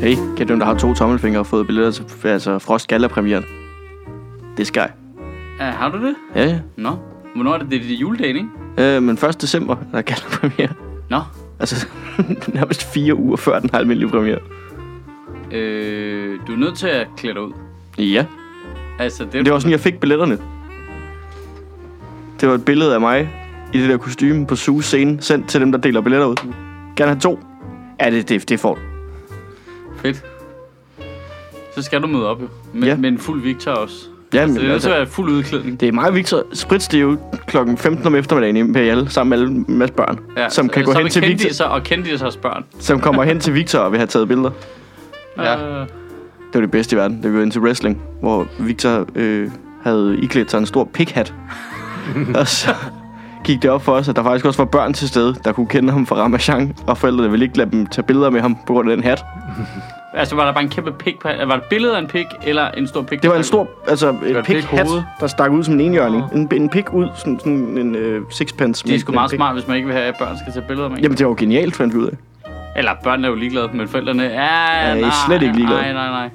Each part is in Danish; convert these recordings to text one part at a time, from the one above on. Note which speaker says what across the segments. Speaker 1: Hey, kan du der har to tommelfingre og fået billetter til altså, Frost Galla-premieren? Det er Sky.
Speaker 2: Uh, har du det?
Speaker 1: Ja, ja.
Speaker 2: Nå. Hvornår er det? Det er det juledagen, ikke?
Speaker 1: Øh, men 1. december er der Galla-premiere.
Speaker 2: Nå.
Speaker 1: Altså, nærmest fire uger før den almindelige premiere.
Speaker 2: Øh, du er nødt til at klæde dig ud.
Speaker 1: Ja,
Speaker 2: Altså, det,
Speaker 1: det var sådan, jeg fik billetterne. Det var et billede af mig i det der kostume på Suge scene, sendt til dem, der deler billetter ud. Gerne have to. Ja, det, det, det får du.
Speaker 2: fedt. Så skal du møde op, jo. Men,
Speaker 1: Ja.
Speaker 2: men fuld Victor også.
Speaker 1: Jamen,
Speaker 2: altså, det er nødt
Speaker 1: altså-
Speaker 2: til at være fuld udklædning.
Speaker 1: Det er mig og Victor spritstive klokken 15 om eftermiddagen i Imperial, sammen med alle en masse børn, ja, som kan
Speaker 2: så-
Speaker 1: gå
Speaker 2: så
Speaker 1: hen
Speaker 2: vil
Speaker 1: til Victor,
Speaker 2: kendisser altså, og kendisers børn.
Speaker 1: som kommer hen til Victor og vil have taget billeder.
Speaker 2: Ja. Øh,
Speaker 1: Det var det bedste i verden, da vi var inde til wrestling, hvor Victor øh, havde iklædt sig en stor pikhat. og så gik det op for os, at der faktisk også var børn til stede, der kunne kende ham fra Ramachan, og forældrene ville ikke lade dem tage billeder med ham på grund af den hat.
Speaker 2: altså, var der bare en kæmpe pik på... Var det et billede af en pik, eller en stor pik?
Speaker 1: Det var en stor, altså en pikhat,
Speaker 3: et pikhoved?
Speaker 1: der stak ud som en enhjørning. En, en pik ud, sådan, sådan en øh, sixpence.
Speaker 2: Det
Speaker 1: men
Speaker 2: er sgu
Speaker 1: en
Speaker 2: meget
Speaker 1: pik.
Speaker 2: smart, hvis man ikke vil have, at børn skal tage billeder med en.
Speaker 1: Jamen, det var jo genialt, fandt vi ud af.
Speaker 2: Eller børn er jo ligeglade, men forældrene... Ja, ja,
Speaker 1: I er
Speaker 2: nej,
Speaker 1: slet ikke ligeglade.
Speaker 2: Nej, nej, nej.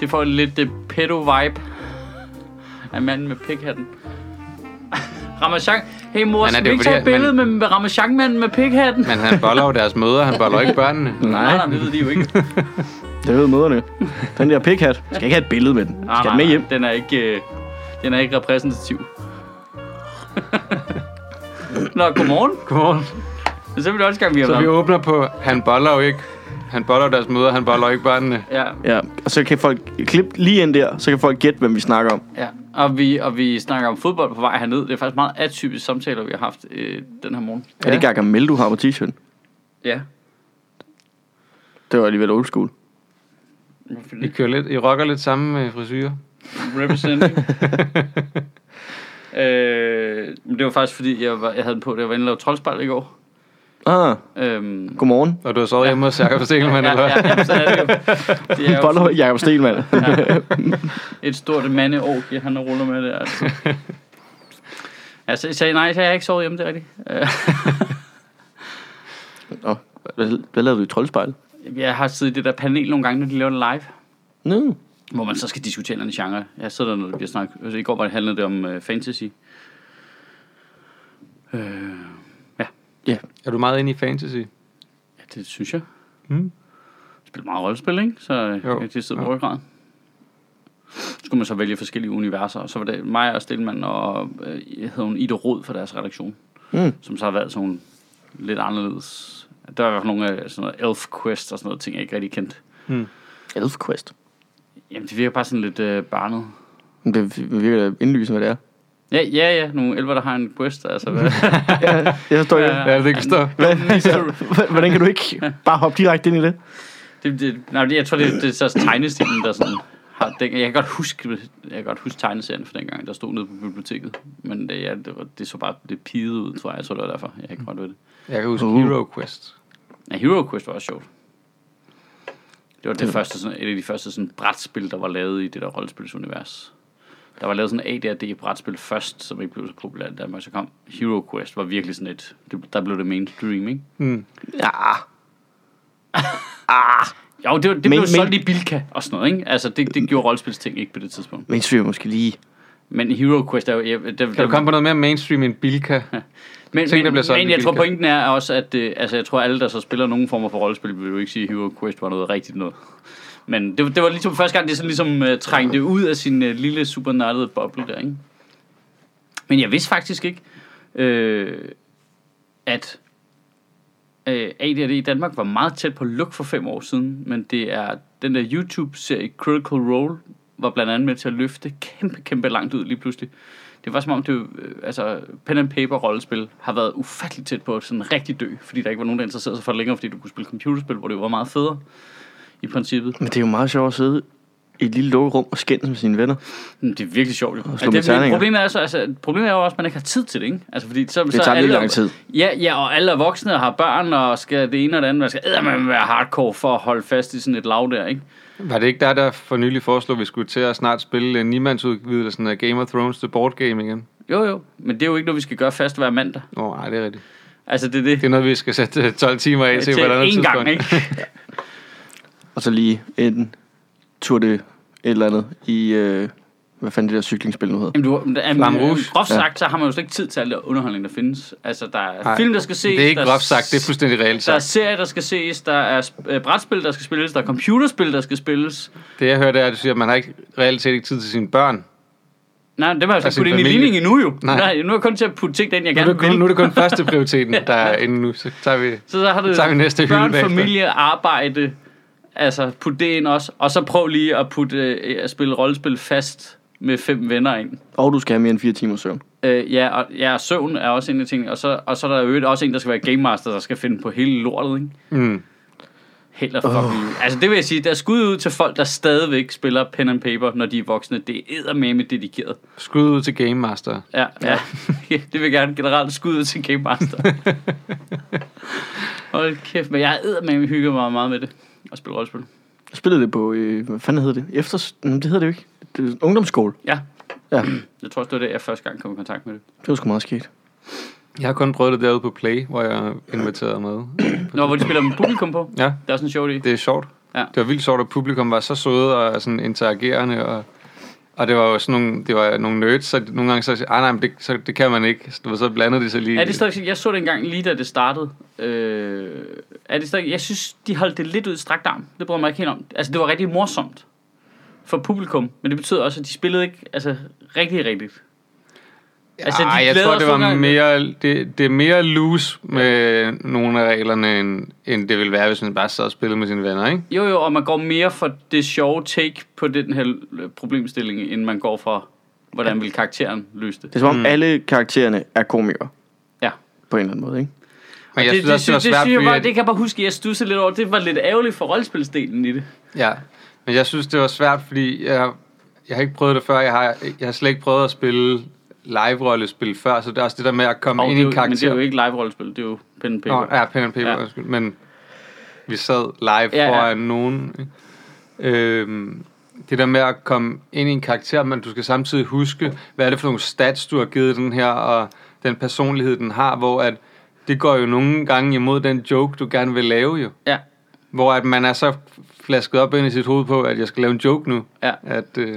Speaker 2: Det får lidt det pedo-vibe af manden med pikhatten. Ramachan. Hey mor,
Speaker 3: Men er
Speaker 2: skal
Speaker 3: det
Speaker 2: vi
Speaker 3: jo
Speaker 2: ikke
Speaker 3: fordi,
Speaker 2: tage et
Speaker 3: at man-
Speaker 2: billede med, med Ramachan-manden med pikhatten?
Speaker 3: Men han boller jo deres mødre, han boller ikke børnene.
Speaker 2: nej, nej, det ved de jo ikke.
Speaker 1: Det ved møderne. Den der pikhat. Jeg skal ikke have et billede med den. Jeg
Speaker 2: Nej,
Speaker 1: skal
Speaker 2: Ah, nej,
Speaker 1: have den med
Speaker 2: nej,
Speaker 1: hjem.
Speaker 2: Den er ikke, øh, den er ikke repræsentativ. Nå, godmorgen.
Speaker 3: Godmorgen.
Speaker 2: Så er vi også i gang med
Speaker 3: Så vi åbner på, han boller jo ikke. Han boller jo deres mødre, han boller ikke børnene.
Speaker 2: Ja,
Speaker 1: Ja, og så kan folk klippe lige ind der, så kan folk gætte, hvem vi snakker om.
Speaker 2: ja. Og vi, og vi snakker om fodbold på vej herned. Det er faktisk meget atypiske samtaler, vi har haft øh, den her morgen.
Speaker 1: Ja. Er det Gargamel, du har på t-shirt?
Speaker 2: Ja.
Speaker 1: Det var alligevel old school.
Speaker 3: I, kører lidt, I rocker lidt samme øh, frisyrer.
Speaker 2: Representing. øh, men det var faktisk fordi, jeg, var, jeg havde den på, da jeg var inde og lave troldspejl i går.
Speaker 1: Ah,
Speaker 2: Øhm,
Speaker 1: godmorgen.
Speaker 3: Og du har sovet hjemme hos Jacob Stelman,
Speaker 2: ja,
Speaker 3: eller hvad?
Speaker 2: ja, ja, så er det jo. Det er jo
Speaker 1: Boller
Speaker 2: sådan
Speaker 1: Jacob Stelmann.
Speaker 2: et stort mandeorgie, han ruller med der. Altså. Altså, jeg sagde, nej, så har jeg ikke sovet hjemme, det er rigtigt. Øh,
Speaker 1: Nå, hvad, hvad lavede du i troldspejl?
Speaker 2: Jeg har siddet i det der panel nogle gange, når de laver det live.
Speaker 1: Nå,
Speaker 2: Hvor man så skal diskutere en eller anden genre. Jeg sidder der, når det bliver snakket. Altså, I går var det handlede det om uh, fantasy. Øh,
Speaker 3: Er du meget inde i fantasy?
Speaker 2: ja, det synes jeg.
Speaker 3: Mm.
Speaker 2: Jeg spiller meget rollespil, ikke? Så
Speaker 3: Jo.
Speaker 2: jo. det sidder på
Speaker 3: Jo.
Speaker 2: ryggraden. Så skulle man så vælge forskellige universer. Og så var det mig og Stelman og øh, hed hun Ida Rod fra deres redaktion.
Speaker 1: Mm.
Speaker 2: Som så har været sådan lidt anderledes. Der var i hvert fald nogle af sådan noget Elf Quest og sådan noget ting, jeg ikke rigtig kendte.
Speaker 1: Elfquest.
Speaker 2: Jamen, det virker bare sådan lidt øh, barnet.
Speaker 1: Men Det virker da indlysende, hvad det er.
Speaker 2: Ja, ja, ja. Nogle elver, der har en quest, altså. Hvad?
Speaker 1: Jeg forstår ikke.
Speaker 2: Ja.
Speaker 3: Ja, det kan stå.
Speaker 1: Hvad- Hvordan kan du ikke bare hoppe direkte ind i det?
Speaker 2: Det, det, nej, det, jeg tror, det, det er så tegnestilen, der sådan har... Den, jeg, kan godt huske, jeg kan godt huske tegneserien fra dengang, der stod nede på biblioteket. Men det, ja, det, var, det så bare lidt piget ud, tror jeg. Jeg tror, det var derfor. Jeg kan godt ved det.
Speaker 3: Jeg kan huske
Speaker 1: Uh.
Speaker 3: Hero Quest.
Speaker 2: Ja, Hero Quest var også sjovt. Det var det første, sådan, et af de første sådan, brætspil, der var lavet i det der rollespilsunivers. Der var lavet sådan AD&D-brætspil først, som ikke blev så populært i Danmark. Så kom Hero Quest, var virkelig sådan et... Det, der blev det mainstream, ikke?
Speaker 3: Mm.
Speaker 1: Ja,
Speaker 2: Jo, det, var- det
Speaker 1: Men-
Speaker 2: blev
Speaker 1: men-
Speaker 2: solgt i Bilka og sådan noget, ikke? Altså, det, det gjorde rollespilsting ikke på det tidspunkt.
Speaker 1: men vi måske lige.
Speaker 2: Men Hero Quest er jo... Ja, det,
Speaker 3: Kan du komme på noget mere mainstream end Bilka?
Speaker 2: men,
Speaker 3: Tænk, der
Speaker 2: men,
Speaker 3: bliver solgt
Speaker 2: men
Speaker 3: i
Speaker 2: jeg tror
Speaker 3: Bilka.
Speaker 2: pointen er også, at øh, altså, jeg tror, alle, der så spiller nogen former for rollespil, vil jo ikke sige, at Hero Quest var noget rigtigt noget. Men det, var- det var ligesom første gang, det sådan ligesom uh, trængte ud af sin uh, lille supernørdede boble der, ikke? Men jeg vidste faktisk ikke, øh, at øh, ADHD i Danmark var meget tæt på luk for fem år siden, men det er den der YouTube-serie Critical Role var blandt andet med til at løfte kæmpe, kæmpe langt ud lige pludselig. Det var som om, det, øh, altså, pen and paper rollespil har været ufatteligt tæt på at sådan rigtig dø, fordi der ikke var nogen, der interesserede sig for det længere, fordi du kunne spille computerspil, hvor det var meget federe i princippet.
Speaker 1: Men det er jo meget sjovt at sidde i et lille lukket rum og skændes med sine venner.
Speaker 2: Men Det er virkelig sjovt. Jo. Altså,
Speaker 1: med
Speaker 2: det, men
Speaker 1: terninger.
Speaker 2: problemet, er så, altså, problemet er jo også, at man ikke har tid til det. Ikke? Altså, fordi så,
Speaker 1: Det
Speaker 2: så
Speaker 1: tager
Speaker 2: er
Speaker 1: lige
Speaker 2: alle-
Speaker 1: lang tid.
Speaker 2: Ja, ja, og alle er voksne og har børn, og skal det ene og det andet. Man skal eddermame være hardcore for at holde fast i sådan et lav der, ikke?
Speaker 3: Var det ikke der, der for nylig foreslog, at vi skulle til at snart spille en nimandsudvidelsen af Game of Thrones til board game igen?
Speaker 2: Jo, jo. Men det er jo ikke noget, vi skal gøre fast hver mandag.
Speaker 3: Åh, oh, nej, det er rigtigt.
Speaker 2: Altså, det er det.
Speaker 3: Det er noget, vi skal sætte øh, 12 timer af til,
Speaker 2: til
Speaker 3: på et andet
Speaker 2: én
Speaker 3: tidspunkt.
Speaker 2: gang, ikke?
Speaker 1: Og så lige en tur det et eller andet i, øh, hvad fanden det der cyklingsspil nu hedder.
Speaker 2: Jamen, du, jamen, øh,
Speaker 3: Flamme Rouge.
Speaker 2: groft
Speaker 1: Ja.
Speaker 2: sagt, så har man jo slet ikke tid til al den underholdning, der findes. Altså, der er
Speaker 3: Nej,
Speaker 2: film, der skal ses.
Speaker 3: Det er ikke
Speaker 2: der
Speaker 3: groft sagt, det er fuldstændig reelt
Speaker 2: Der er
Speaker 3: sagt.
Speaker 2: serier, der skal ses, der er sp- øh, brætspil, der skal spilles, der er computerspil, der skal spilles.
Speaker 3: Det jeg hørte er, at du siger, at man har ikke reelt set ikke tid til sine børn.
Speaker 2: Nej, det var jeg
Speaker 3: Og
Speaker 2: altså
Speaker 3: sin
Speaker 2: puttet ind i
Speaker 3: familie.
Speaker 2: ligningen endnu jo.
Speaker 3: Nej.
Speaker 2: Nej. Nej, nu er jeg kun til at putte ting derind, jeg
Speaker 3: Nu er
Speaker 2: gerne
Speaker 3: det kun,
Speaker 2: vil.
Speaker 3: nu er det kun første prioriteten, der er inde nu. Så tager vi...
Speaker 2: Så, så har du
Speaker 3: Så tager vi næste hylde
Speaker 2: børn,
Speaker 3: bagefter.
Speaker 2: familie, arbejde. Altså, put det ind også. Og så prøv lige at, putte, øh, at spille rollespil fast med fem venner ind.
Speaker 1: Og du skal have mere end fire timer søvn.
Speaker 2: Øh, ja, og, ja, og søvn er også en af tingene. Og så, og så er der jo også en, der skal være game master, der skal finde på hele lortet, ikke?
Speaker 3: Mm.
Speaker 2: Held og fuck oh. Altså, det vil jeg sige, der er skud ud til folk, der stadigvæk spiller pen and paper, når de er voksne. Det er eddermame dedikeret.
Speaker 3: Skud ud til Game Master.
Speaker 2: Ja, ja. det vil jeg gerne generelt skud ud til Game Master. Hold kæft, men jeg har eddermame hygget mig meget med det. At spille rollespil.
Speaker 1: Jeg spillede det på, øh, hvad fanden hed det? Efter, nej, det hedder det jo ikke. Det er ungdomsskole.
Speaker 2: Ja,
Speaker 1: Ja,
Speaker 2: jeg tror også, det var det, jeg første gang kom i kontakt med det.
Speaker 1: det var sgu meget skægt.
Speaker 3: Jeg har kun prøvet det derude på Play, hvor jeg er inviteret med.
Speaker 2: Nå, hvor de spiller med publikum på.
Speaker 3: Ja,
Speaker 2: Det er også en sjov idé.
Speaker 3: det er sjovt.
Speaker 2: Ja.
Speaker 3: Det var vildt sjovt, at publikum var så søde og sådan interagerende. Og, og det var jo sådan nogle, det var nogle nerds, så nogle gange så sagde nej, men det, så, det kan man ikke. Så, du ved, så blandede de sig lige.
Speaker 2: Er det stadig, jeg så det engang lige da det startede. Øh, er det stadig, jeg synes, de holdt det lidt ud i strakt arm. Det bryder jeg mig ikke helt om. Altså, det var rigtig morsomt for publikum, men det betød også, at de spillede ikke altså, rigtig rigtigt. altså, de
Speaker 3: Ej, "Ah, jeg
Speaker 2: glæder
Speaker 3: tror, det
Speaker 2: os
Speaker 3: var
Speaker 2: nogle gange-
Speaker 3: mere, det, det er mere loose med nogle af reglerne, end, end det ville være, hvis man bare sad og spillede med sine venner, ikke?
Speaker 2: Jo, jo, og man går mere for det sjove take på den her øh, problemstilling, end man går for, hvordan vil karakteren løse
Speaker 1: Det er
Speaker 2: det.
Speaker 1: som om, mm. alle karaktererne er komikere.
Speaker 2: Ja.
Speaker 1: På en eller anden måde, ikke?
Speaker 3: Men jeg
Speaker 2: det,
Speaker 3: synes
Speaker 2: det,
Speaker 3: også,
Speaker 2: synes-
Speaker 3: det,
Speaker 2: det, synes
Speaker 3: var svært,
Speaker 2: jeg
Speaker 3: fordi...
Speaker 2: bare,
Speaker 3: at-
Speaker 2: det kan jeg bare huske, at jeg stussede lidt over. Det var lidt ærgerligt for rollespilsdelen i det.
Speaker 3: Ja, men jeg synes, det var svært, fordi jeg, jeg har ikke prøvet det før. Jeg har, jeg har slet ikke prøvet at spille live-rollespil før, så det er også det der med at komme
Speaker 2: Og
Speaker 3: ind
Speaker 2: det
Speaker 3: i
Speaker 2: er
Speaker 3: en
Speaker 2: jo, men det er
Speaker 3: karakter.
Speaker 2: jo ikke live-rollespil, det er jo pen and paper.
Speaker 3: Nå, ja, pen and paper,
Speaker 2: Ja.
Speaker 3: ja. men vi sad live
Speaker 2: Ja,
Speaker 3: ja,
Speaker 2: ja.
Speaker 3: foran nogen. ikke? Øhm, det der med at komme ind i en karakter, men du skal samtidig huske, hvad er det for nogle stats, du har givet den her, og den personlighed, den har, hvor at det går jo nogle gange imod den joke, du gerne vil lave jo.
Speaker 2: ja.
Speaker 3: Hvor at man er så flasket op ind i sit hoved på, at jeg skal lave en joke nu.
Speaker 2: Ja.
Speaker 3: At, øh,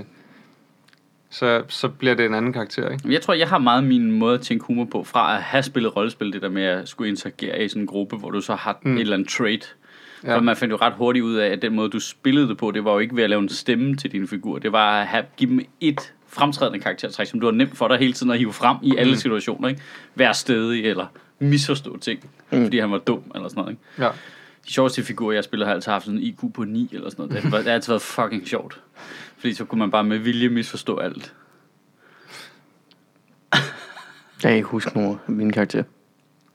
Speaker 3: så, så bliver det en anden karakter, ikke?
Speaker 2: Jamen, Jeg tror, jeg har meget min måde at tænke humor på, fra at have spillet rollespil, det der med at skulle interagere i sådan en gruppe, hvor du så har mm. et eller andet trait. Ja.
Speaker 3: Ja.
Speaker 2: For man fandt jo ret hurtigt ud af, at den måde, du spillede det på, det var jo ikke ved at lave en stemme til dine figurer. Det var at have, give dem et fremtrædende karaktertræk, som du var nemt for dig hele tiden at hive frem i alle mm. situationer. Ikke? Være stedig eller misforstå ting, mm. fordi han var dum eller sådan noget. Ikke?
Speaker 3: Ja.
Speaker 2: De sjoveste figurer, jeg spiller, har altid haft sådan en IQ på 9 eller sådan noget. Det har, det har altid været fucking sjovt. Fordi så kunne man bare med vilje misforstå alt.
Speaker 1: Jeg kan ikke huske nogen af mine karakterer.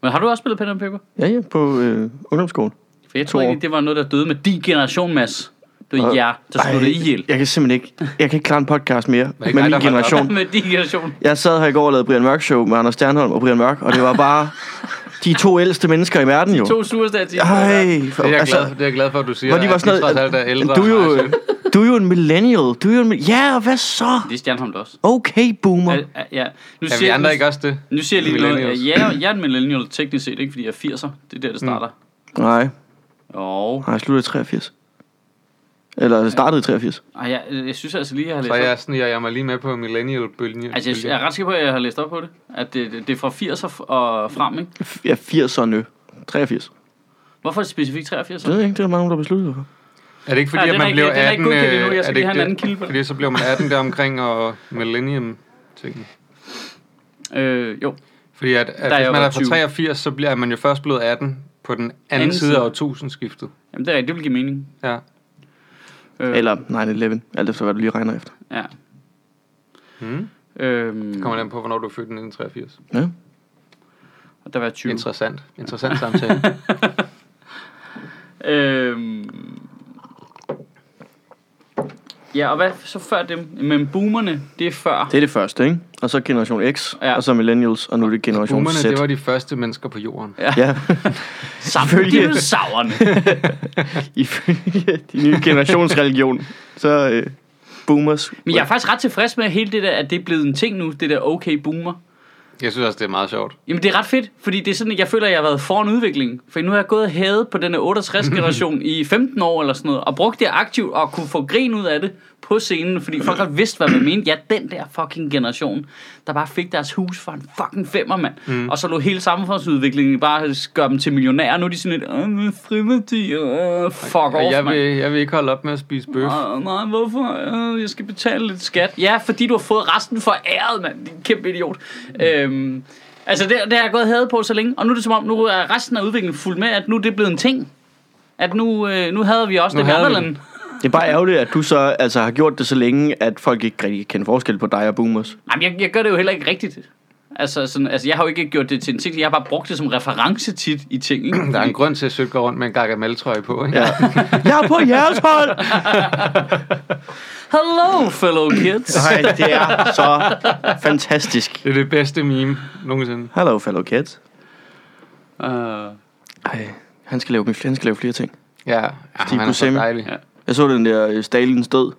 Speaker 2: Men har du også spillet pen and paper?
Speaker 1: Ja, ja, på øh, ungdomsskolen.
Speaker 2: For jeg tror
Speaker 1: To år.
Speaker 2: egentlig, det var noget, der døde med din generation, Mads. Det var
Speaker 1: Øh,
Speaker 2: jer, der slog det ihjel.
Speaker 1: jeg kan simpelthen ikke, jeg kan ikke klare en podcast mere med
Speaker 3: ikke dig, der
Speaker 1: min
Speaker 3: holdt
Speaker 1: generation.
Speaker 2: med din generation.
Speaker 1: Jeg sad her i går og lavede Brian Mørk Show med Anders Stjernholm og Brian Mørk, og det var bare de to ældste mennesker i verden jo.
Speaker 2: To surestager til.
Speaker 1: Ej, for,
Speaker 3: Det er, jeg
Speaker 1: altså,
Speaker 3: glad, det er jeg glad for, at du siger,
Speaker 1: hvor de var
Speaker 3: at de
Speaker 1: sådan
Speaker 3: trods alt er
Speaker 1: noget,
Speaker 3: ældre.
Speaker 1: du er
Speaker 3: end mig
Speaker 1: jo,
Speaker 3: selv.
Speaker 1: du er jo en millennial, du er jo en, mil- ja, og hvad så?
Speaker 2: Det er Stjernholm da også.
Speaker 1: Okay, boomer.
Speaker 2: Ja, ja. Nu
Speaker 3: Er vi andre ikke også det?
Speaker 2: Nu siger jeg lige
Speaker 3: Millennials.
Speaker 2: noget. Ja, jeg er en millennial teknisk set, ikke? Fordi jeg er 80'er. Det er der, det
Speaker 1: Mm.
Speaker 2: starter.
Speaker 1: Nej,
Speaker 2: Og
Speaker 1: nej, jeg sluttede i 83. Eller jeg startede i 83.
Speaker 2: ej, jeg, jeg synes altså lige, jeg har læst
Speaker 3: Så
Speaker 2: op.
Speaker 3: jeg sniger jeg mig lige med på millennial-bølgen.
Speaker 2: Altså, jeg, jeg er ret sikker på, at jeg har læst op på det. At det, det, det er fra 80'er og frem, ikke?
Speaker 1: Ja, 80'erne. 83.
Speaker 2: Hvorfor er det specifikt 83?
Speaker 1: Det ved jeg ikke, det er der mange, der besluttede sig for.
Speaker 3: er det ikke fordi,
Speaker 2: Nej,
Speaker 3: at
Speaker 2: den er
Speaker 3: man
Speaker 2: ikke-
Speaker 3: blev
Speaker 2: den er ikke
Speaker 3: 18...
Speaker 2: godkendt endnu. Jeg skal
Speaker 3: øh, er det
Speaker 2: lige
Speaker 3: ikke
Speaker 2: have en
Speaker 3: det?
Speaker 2: anden kilde på det.
Speaker 3: Fordi så blev man 18 der omkring og millennium ting.
Speaker 2: Øh, jo.
Speaker 3: Fordi at, at
Speaker 2: er
Speaker 3: hvis
Speaker 2: jeg
Speaker 3: man
Speaker 2: jo
Speaker 3: er fra
Speaker 2: 20.
Speaker 3: 83, så bliver man jo først blevet 18 på den anden
Speaker 2: Anden
Speaker 3: side
Speaker 2: side.
Speaker 3: af årtusindskiftet.
Speaker 2: Jamen, det er rigtigt. Det vil give mening.
Speaker 3: Ja.
Speaker 2: Øh,
Speaker 1: Eller 9-11, alt efter hvad du lige regner efter.
Speaker 2: Ja.
Speaker 3: Mm.
Speaker 2: Øhm,
Speaker 3: Kommer den på, hvornår du er født i 1983.
Speaker 1: Ja.
Speaker 2: og der var 20.
Speaker 3: Interessant. Interessant samtale.
Speaker 2: Øhm. Ja, og hvad så før dem? Men boomerne, det er før.
Speaker 1: Det er det første, ikke? Og så generation X,
Speaker 2: Ja.
Speaker 1: ja. og så millennials, og nu er det generation
Speaker 3: Boomerne,
Speaker 1: Z.
Speaker 3: det var de første mennesker på jorden.
Speaker 1: Ja,
Speaker 2: Sammen
Speaker 1: selvfølgelig.
Speaker 2: dinosaurerne.
Speaker 1: ifølge de nye generationsreligion, så øh, boomers.
Speaker 2: Men jeg er faktisk ret tilfreds med at hele det der, at det er blevet en ting nu, det der okay boomer.
Speaker 3: Jeg synes også, det er meget sjovt.
Speaker 2: Jamen, det er ret fedt, fordi det er sådan, at jeg føler, at jeg har været foran udviklingen. For nu har jeg gået og hævet på denne 68-generation i 15 år eller sådan noget, og brugt det aktivt og kunne få grin ud af det på scenen, fordi folk har vidst, hvad man mente. Ja, den der fucking generation, der bare fik deres hus for en fucking femmer, mand. Mm. Og så lå hele samfundsudviklingen bare gøre dem til millionærer. Nu er de sådan lidt, "Åh, men friværdi, øh, fuck off,
Speaker 3: Og jeg
Speaker 2: mand."
Speaker 3: vil, jeg vil ikke holde op med at spise bøf.
Speaker 2: Nej, nej, hvorfor? Øh, Jeg skal betale lidt skat. Ja, fordi du har fået resten for æret, mand. Din kæmpe idiot. Øhm, altså, det, det har jeg gået havde på så længe. Og nu er det som om, nu er resten af udviklingen fuld med, at nu er det blevet en ting. At nu, øh, nu havde vi også
Speaker 3: Nu
Speaker 2: nu det med
Speaker 3: havde vi
Speaker 2: Anderland.
Speaker 1: Det er bare ærgerligt, at du så altså, har gjort det så længe, at folk ikke rigtig kender forskel på dig og boomers.
Speaker 2: Jamen, jeg, jeg gør det jo heller ikke rigtigt. Altså, sådan, altså, jeg har jo ikke gjort det til en ting. Jeg har bare brugt det som reference tit i ting. Ikke?
Speaker 3: Der er en grund til, at Sødt går rundt med en gargamel-trøje på, ikke?
Speaker 1: Ja. jeg er på jeres hold!
Speaker 2: Hello, fellow kids.
Speaker 1: Nej, det er så fantastisk.
Speaker 3: Det er det bedste meme nogensinde.
Speaker 1: Hello, fellow kids.
Speaker 2: Uh,
Speaker 1: Ej, han skal lave, han skal lave flere ting.
Speaker 3: Ja, ja
Speaker 1: Steve
Speaker 3: han er så
Speaker 1: Buscemi.
Speaker 3: dejlig.
Speaker 2: Ja.
Speaker 1: Jeg så den der øh, Stalins død.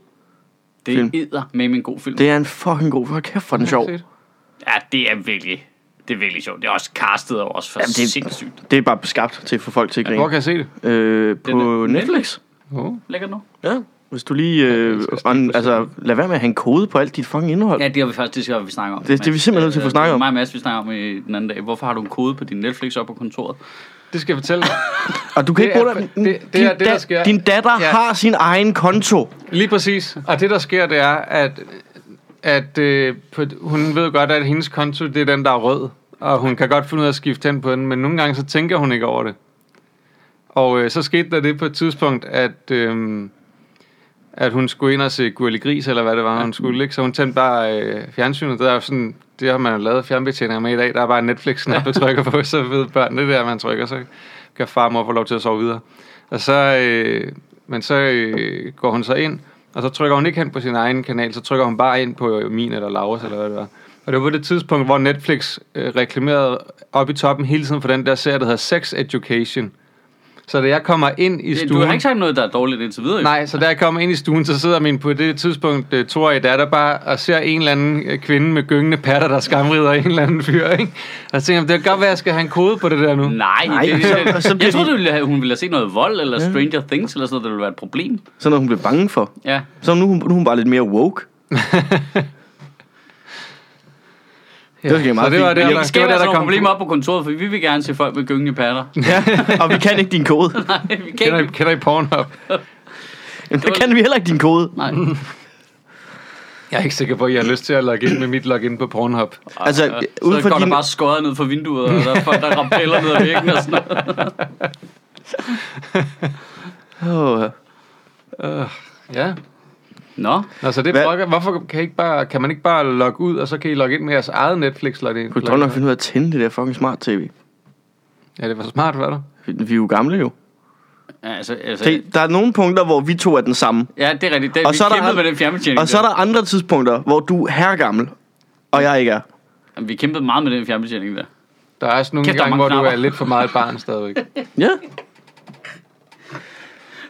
Speaker 1: Film.
Speaker 2: det er med en god film.
Speaker 1: Det er en fucking god... Hvor kæft, for den sjov.
Speaker 2: Ja, det er virkelig, det er virkelig sjovt. Det er også castet og også for
Speaker 1: Jamen,
Speaker 2: Jamen,
Speaker 1: det er-
Speaker 2: det... sindssygt.
Speaker 1: Det er bare skabt til at få folk til at
Speaker 3: Hvor
Speaker 1: grine.
Speaker 3: kan jeg se det?
Speaker 1: Øh, på
Speaker 2: Den er-
Speaker 1: Netflix.
Speaker 3: Oh.
Speaker 2: Lækkert nu.
Speaker 1: Ja. Hvis du lige... Øh,
Speaker 3: elsker Steve
Speaker 1: on,
Speaker 3: Buscemi.
Speaker 1: altså, lad være med at have en kode på alt dit fucking indhold.
Speaker 2: Ja, det har vi faktisk det skal vi snakke om. Øh,
Speaker 1: Det- det er vi simpelthen nødt til at få snakket om.
Speaker 2: Mig og Mads, vi snakker om i den anden dag. Hvorfor har du en kode på din Netflix op på kontoret?
Speaker 3: Det skal jeg fortælle.
Speaker 1: Og du kan
Speaker 3: Det
Speaker 1: ikke
Speaker 3: er-
Speaker 1: bruge
Speaker 3: det- det er- det er, der sker.
Speaker 1: Din datter
Speaker 3: Ja.
Speaker 1: har sin egen konto.
Speaker 3: Lige præcis. Og det, der sker, det er, at, at øh, på, hun ved godt, at hendes konto, det er den, der er rød. Og hun kan godt finde ud af at skifte hen på den, men nogle gange, så tænker hun ikke over det. Og øh, så skete der det på et tidspunkt, at, øh, at hun skulle ind og se Gurli Gris, eller hvad det var, hun skulle, ikke? Så hun tændte bare øh, fjernsynet. Det er jo sådan, det har man jo lavet fjernbetjeninger med i dag. Der er bare en Netflix-knap, du trykker på, så ved børn, det der, man trykker, så kan far og mor få lov til at sove videre. Og så, øh, men så øh, går hun så ind, og så trykker hun ikke hen på sin egen kanal, så trykker hun bare ind på øh, min eller Lauras, eller hvad det var. Og det var på det tidspunkt, hvor Netflix øh, reklamerede op i toppen hele tiden for den der serie, der hedder Sex Education. Så da jeg kommer ind i
Speaker 2: Det,
Speaker 3: stuen...
Speaker 2: du har ikke sagt noget, der er dårligt indtil videre. jo.
Speaker 3: Nej, så da jeg kommer ind i stuen, så sidder min på det tidspunkt øh, toårige datter bare og ser en eller anden øh, kvinde med gyngende patter, der skamrider en eller anden fyr, ikke? Og så tænker jeg, det kan godt være, at jeg skal have en kode på det der nu.
Speaker 2: Nej,
Speaker 1: Nej,
Speaker 2: Nej det,
Speaker 1: så-
Speaker 2: det,
Speaker 1: så bliver
Speaker 2: jeg troede,
Speaker 1: de-
Speaker 2: du ville have, hun ville have set noget vold, eller Stranger Things, eller sådan noget, der ville være et problem.
Speaker 1: Sådan noget, hun blev bange for.
Speaker 2: Ja.
Speaker 1: Så nu, er hun- nu er hun bare lidt mere woke. det var sgu meget
Speaker 3: så det var
Speaker 1: fint.
Speaker 3: det,
Speaker 1: Ja,
Speaker 2: Men
Speaker 3: der,
Speaker 2: det
Speaker 3: det
Speaker 2: skaber
Speaker 3: var der,
Speaker 2: altså
Speaker 3: der
Speaker 2: nogle
Speaker 3: kom
Speaker 2: problemer op på kontoret, for vi vil gerne se folk med gyngende patter.
Speaker 1: Ja, og vi kan ikke din kode.
Speaker 2: Nej, vi kan
Speaker 3: Kender I,
Speaker 2: ikke.
Speaker 3: kender I Pornhub?
Speaker 1: Jamen, der kan vi heller ikke din kode.
Speaker 2: Nej.
Speaker 3: Jeg er ikke sikker på, at jeg har lyst til at logge ind med mit login på Pornhub.
Speaker 1: Altså,
Speaker 2: Ja,
Speaker 1: ud
Speaker 2: så
Speaker 1: fra
Speaker 2: går
Speaker 1: din-
Speaker 2: der bare skåret ned fra vinduet, og der er folk, der rappeller ned ad væggen og sådan noget.
Speaker 1: Oh,
Speaker 3: Ja.
Speaker 2: Nå,
Speaker 3: Nå, så det
Speaker 1: Hvad-
Speaker 3: brokker, hvorfor kan, I ikke bare, kan man ikke bare logge ud, og så kan I logge ind med jeres eget netflix login
Speaker 1: kunne du drømme om at finde ud af at tænde det der fucking smart tv?
Speaker 3: Ja, det var smart, var det?
Speaker 1: Vi er jo gamle jo.
Speaker 2: ja, altså, altså,
Speaker 1: Det, der er nogle punkter, hvor vi to er den samme.
Speaker 2: ja, det er rigtigt. Det,
Speaker 1: Og
Speaker 2: og vi
Speaker 1: så er der
Speaker 2: kæmpede
Speaker 1: han-
Speaker 2: med den fjernbetjening.
Speaker 1: Og så er der andre tidspunkter, hvor du er herregammel, og jeg ikke er.
Speaker 2: der. Vi kæmpede meget med den fjernbetjening der.
Speaker 3: Der er også nogle
Speaker 2: Kæft,
Speaker 3: Kæft,
Speaker 2: der er
Speaker 3: gange,
Speaker 2: mange
Speaker 3: hvor du
Speaker 2: knapper.
Speaker 3: er lidt for meget et barn stadigvæk.
Speaker 1: Ja.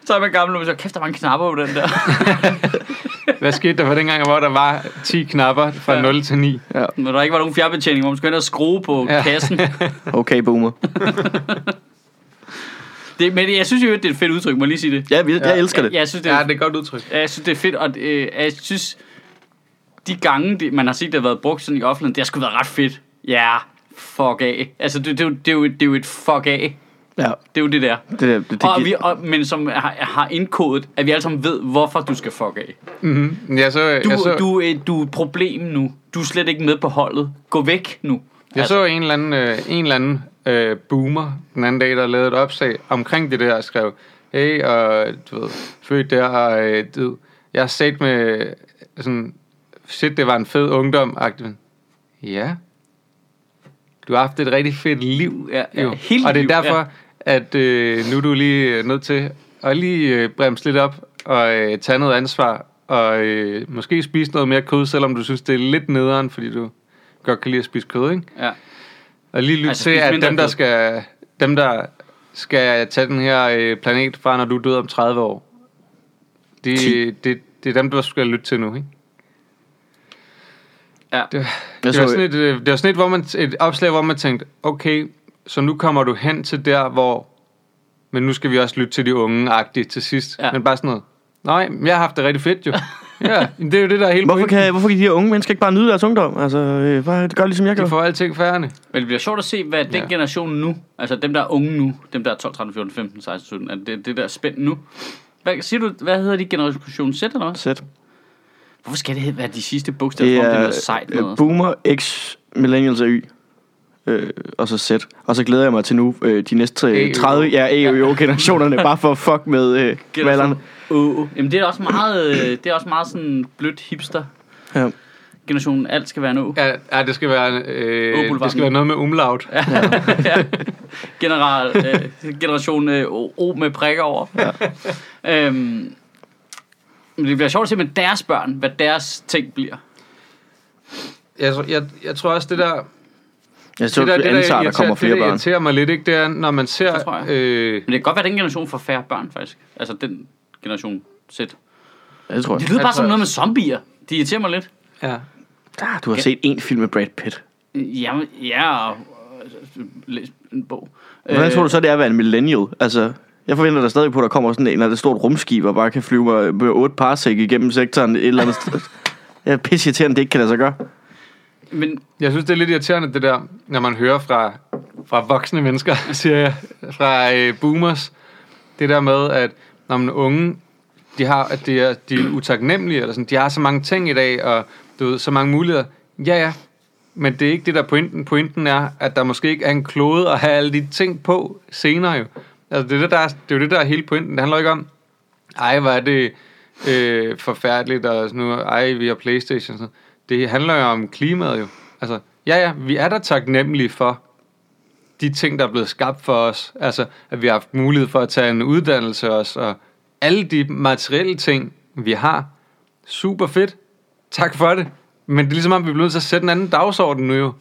Speaker 2: Så er man gammel, og man siger, kæft, der er mange knapper på den der.
Speaker 3: Hvad skete der for dengang, hvor der var 10 knapper fra
Speaker 2: Ja.
Speaker 3: 0 til 9?
Speaker 2: Men der ikke var nogen fjernbetjening, hvor man skulle hen og skrue på
Speaker 3: Ja.
Speaker 2: ja. kassen.
Speaker 1: Okay, boomer.
Speaker 2: Det, men jeg synes jo, at det er et fedt udtryk, må jeg lige sige det.
Speaker 1: Ja, vi, jeg
Speaker 3: Ja.
Speaker 1: elsker det.
Speaker 2: Jeg, jeg, synes, det
Speaker 3: Ja,
Speaker 2: er,
Speaker 3: det er et godt udtryk.
Speaker 2: jeg synes, det er fedt, og øh, jeg synes, de gange, det, man har set, det har været brugt sådan i offentligheden, det har sgu været ret fedt. Ja, yeah, fuck af. Altså, det, det, er jo- det, er jo, et- det er jo et fuck af.
Speaker 1: Ja,
Speaker 2: Det er jo det der.
Speaker 1: det, der, det, det,
Speaker 2: Og
Speaker 1: giver-
Speaker 2: vi, og, men som har, har indkodet, at vi alle sammen ved, hvorfor du skal fuck af.
Speaker 3: Mm-hmm. Jeg så,
Speaker 2: Du,
Speaker 3: jeg så,
Speaker 2: du, øh, du er et problem nu. Du er slet ikke med på holdet. Gå væk nu.
Speaker 3: jeg så en eller anden, øh, en eller anden øh, boomer den anden dag, der lavede et opslag omkring det der, og skrev, hey, og du ved, født der, og øh, du, ved, jeg har set med sådan, shit, det var en fed ungdom, -agtig. Ja. Du har haft et rigtig fedt liv,
Speaker 2: Ja, ja,
Speaker 3: jo.
Speaker 2: hele
Speaker 3: og det er
Speaker 2: liv,
Speaker 3: derfor,
Speaker 2: ja.
Speaker 3: at øh, nu er du lige øh, nødt til at lige øh, bremse lidt op og øh, tage noget ansvar, og øh, måske spise noget mere kød, selvom du synes, det er lidt nederen, fordi du godt kan lide at spise kød, ikke?
Speaker 2: Altså, Ja.
Speaker 3: Og lige lytte altså,
Speaker 2: Altså,
Speaker 3: til,
Speaker 2: spise
Speaker 3: at
Speaker 2: mindre
Speaker 3: dem der,
Speaker 2: kød.
Speaker 3: skal, dem, der skal tage den her øh, planet fra, når du er død om 30 år, det,
Speaker 1: Ti.
Speaker 3: det, det er dem, du skal lytte til nu, ikke?
Speaker 2: Ja.
Speaker 3: Det,
Speaker 1: Jeg
Speaker 3: det,
Speaker 1: så-
Speaker 3: var sådan et, øh, det var sådan et, hvor man, et opslag, hvor man tænkte, okay, så nu kommer du hen til der, hvor... Men nu skal vi også lytte til de unge-agtigt til sidst.
Speaker 2: Ja.
Speaker 3: Ja. Men bare sådan noget. Nej, men jeg har haft det rigtig fedt jo. ja, men det er jo det, der er hele
Speaker 1: Hvorfor
Speaker 3: pointen.
Speaker 1: kan, hvorfor kan de her unge mennesker ikke bare nyde deres ungdom? Altså, øh, bare gør ligesom jeg gør.
Speaker 3: De får alting færdig.
Speaker 2: Men det bliver sjovt at se, hvad den
Speaker 3: Ja.
Speaker 2: generation nu, altså dem, der er unge nu, dem, der er 12, 13, 14, 15, 16, 17, at det, det der er spændt nu. Hvad, siger du, hvad hedder de generation Z eller hvad?
Speaker 1: Sæt.
Speaker 2: Hvorfor skal det hed- være de sidste bogstaver?
Speaker 1: Det
Speaker 2: Det er, det er
Speaker 1: er
Speaker 2: noget sejt
Speaker 1: øh,
Speaker 2: noget.
Speaker 1: Boomer, X, Millennials og Y. Øh, og så Z. Og så glæder jeg mig til nu øh, de næste
Speaker 3: AØO.
Speaker 1: øh, 30 ja, AEO-generationerne, bare for at fuck med øh, valgerne.
Speaker 2: Åh, Jamen det er også meget, øh, det er også meget sådan blødt hipster.
Speaker 1: Ja.
Speaker 2: Generationen alt skal være en å. Ja.
Speaker 3: Ja, ja, det skal være, øh,
Speaker 2: Opelvagnen.
Speaker 3: det skal være noget med umlaut. Ja.
Speaker 2: General, øh, generation øh, o, o med prikker over. Ja. øhm, men det bliver sjovt at se med deres børn, hvad deres ting bliver.
Speaker 3: Jeg, tror- jeg, jeg tror også, det der...
Speaker 1: Jeg så det antager, der
Speaker 3: irriterer-
Speaker 1: kommer flere
Speaker 3: det, der
Speaker 1: børn.
Speaker 3: irriterer mig lidt, ikke, det er, når man
Speaker 2: Det tror
Speaker 3: ser...
Speaker 2: jeg.
Speaker 3: Øh,
Speaker 2: Men det kan godt være, at den generation får færre børn, faktisk. Altså den generation Z. Det
Speaker 1: Ja, det tror jeg.
Speaker 2: lyder bare
Speaker 3: Altså-
Speaker 2: som noget med zombier. De irriterer mig lidt.
Speaker 3: ja.
Speaker 1: Ah, du har set en film med Brad Pitt.
Speaker 2: Ja, ja og, øh, læs en bog.
Speaker 1: Hvordan tror du så, det er at være en millennial? Altså, jeg forventer der stadig på, at der kommer sådan en eller andet stort rumskib, og bare kan flyve med, med otte parsæk igennem sektoren et eller andet sted. Jeg er pisse irriterende, det ikke kan lade sig gøre.
Speaker 2: Øh, men
Speaker 3: Jeg synes, det er lidt irriterende, det der, når man hører fra, fra voksne mennesker, siger jeg, fra øh, boomers, det der med, at når man unge, de, har, at de, er, de er utaknemmelige, eller sådan, de har så mange ting i dag, og du ved, så mange muligheder. Ja, ja, men det er ikke det, der er pointen. Pointen er, at der måske ikke er en klode at have alle de ting på senere jo. Altså, det, er det, der er, det er jo det, der er hele pointen. Det handler jo ikke om, ej, hvor er det øh, forfærdeligt, og sådan nu, ej, vi har Playstation. og Sådan. Det handler jo om klimaet jo. Altså, ja, ja, vi er da taknemmelige for de ting, der er blevet skabt for os. Altså, at vi har haft mulighed for at tage en uddannelse også, og alle de materielle ting, vi har. Super fedt. Tak for det. Men det er ligesom om, vi bliver nødt til at sætte en anden dagsorden nu jo.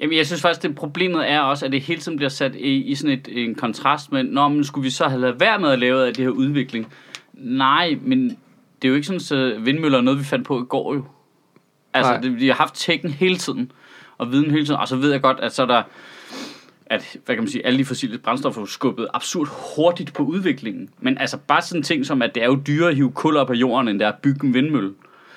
Speaker 2: Jamen, jeg synes faktisk, det problemet er også, at det hele tiden bliver sat i, i sådan et, en kontrast med, Nå, men skulle vi så have lavet være med at lave af det her udvikling? Nej, men det er jo ikke sådan, så vindmøller er noget, vi fandt på i går jo. Altså,
Speaker 3: Nej.
Speaker 2: det, vi har haft tekken hele tiden, og viden hele tiden, og så ved jeg godt, at så er der at, hvad kan man sige, alle de fossile brændstoffer er jo skubbet absurd hurtigt på udviklingen. Men altså bare sådan en ting som, at det er jo dyrere at hive kul op af jorden, end det er at bygge en vindmølle.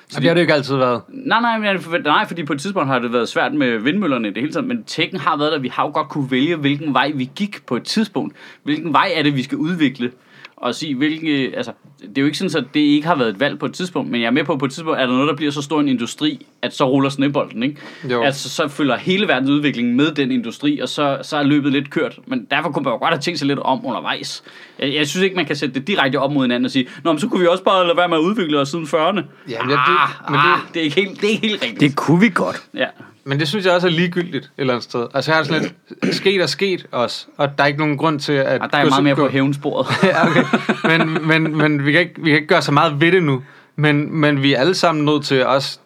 Speaker 3: Så det har det jo ikke altid været.
Speaker 2: Nej, nej, men jeg forvent- nej, fordi på et tidspunkt har det været svært med vindmøllerne i det hele taget, men tekken har været der, vi har jo godt kunne vælge, hvilken vej vi gik på et tidspunkt. Hvilken vej er det, vi skal udvikle? Og sige, hvilke, altså, det er jo ikke sådan, at det ikke har været et valg på et tidspunkt, men jeg er med på, at på et tidspunkt er der noget, der bliver så stor en industri, at så ruller snebolden, ikke?
Speaker 3: Jo.
Speaker 2: Altså, så følger hele verdens udvikling med den industri, og så, så er løbet lidt kørt. Men derfor kunne man jo godt have tænkt sig lidt om undervejs. Jeg, jeg synes ikke, man kan sætte det direkte op mod hinanden og sige, Nå, men så kunne vi også bare lade være med at udvikle os siden 40'erne.
Speaker 3: Jamen, ja, det-
Speaker 2: ah,
Speaker 3: men
Speaker 2: ah,
Speaker 3: det-
Speaker 2: det er ikke helt, det er ikke helt rigtigt.
Speaker 1: Det kunne vi godt.
Speaker 2: Ja.
Speaker 3: Men det synes jeg også er ligegyldigt et eller andet sted. Altså, jeg har sådan lidt sket og sket også, og der er ikke nogen grund til, at...
Speaker 2: Og der er meget mere på hævnsporet.
Speaker 3: Ja, okay. Men, men, men vi, kan ikke, vi kan ikke gøre så meget ved det nu. Men, men vi er alle sammen nødt til, også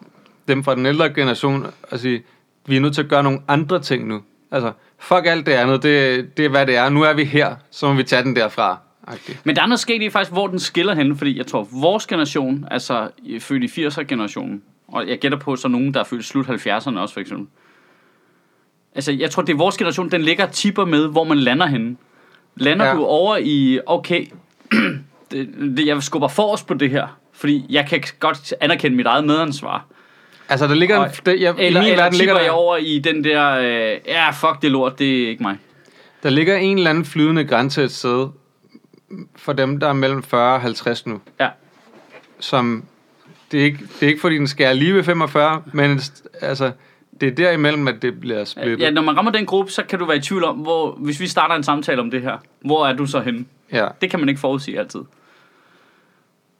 Speaker 3: dem fra den ældre generation, at sige, vi er nødt til at gøre nogle andre ting nu. Altså, fuck alt det andet, det, det er hvad det er. Nu er vi her, så må vi tage den derfra. Okay.
Speaker 2: Men der er noget sket i faktisk, hvor den skiller henne, fordi jeg tror, vores generation, altså øh, født i 80'er-generationen, og jeg gætter på så nogen, der er født i slut 70'erne også, for eksempel. Altså, jeg tror, det er vores generation, den ligger og tipper med, hvor man lander henne. Lander ja.
Speaker 3: Ja.
Speaker 2: du over i, okay, det, det, jeg skubber forrest på det her, fordi jeg kan godt anerkende mit eget medansvar.
Speaker 3: Altså, der ligger... En,
Speaker 2: Og-
Speaker 3: der, jeg,
Speaker 2: Eller,
Speaker 3: I min
Speaker 2: eller
Speaker 3: verden
Speaker 2: tipper
Speaker 3: ligger
Speaker 2: jeg
Speaker 3: der,
Speaker 2: over i den der, øh, ja, fuck det lort, det er ikke mig.
Speaker 3: der ligger en eller anden flydende grænse et sted for dem, der er mellem 40 og 50 nu.
Speaker 2: Ja.
Speaker 3: som... Det er, ikke, det er ikke, fordi den skærer lige ved 45, men en st- altså, det er derimellem, at det bliver splittet.
Speaker 2: Ja, når man rammer den gruppe, så kan du være i tvivl om, hvor, hvis vi starter en samtale om det her, hvor er du så henne?
Speaker 3: ja.
Speaker 2: Det kan man ikke forudsige altid.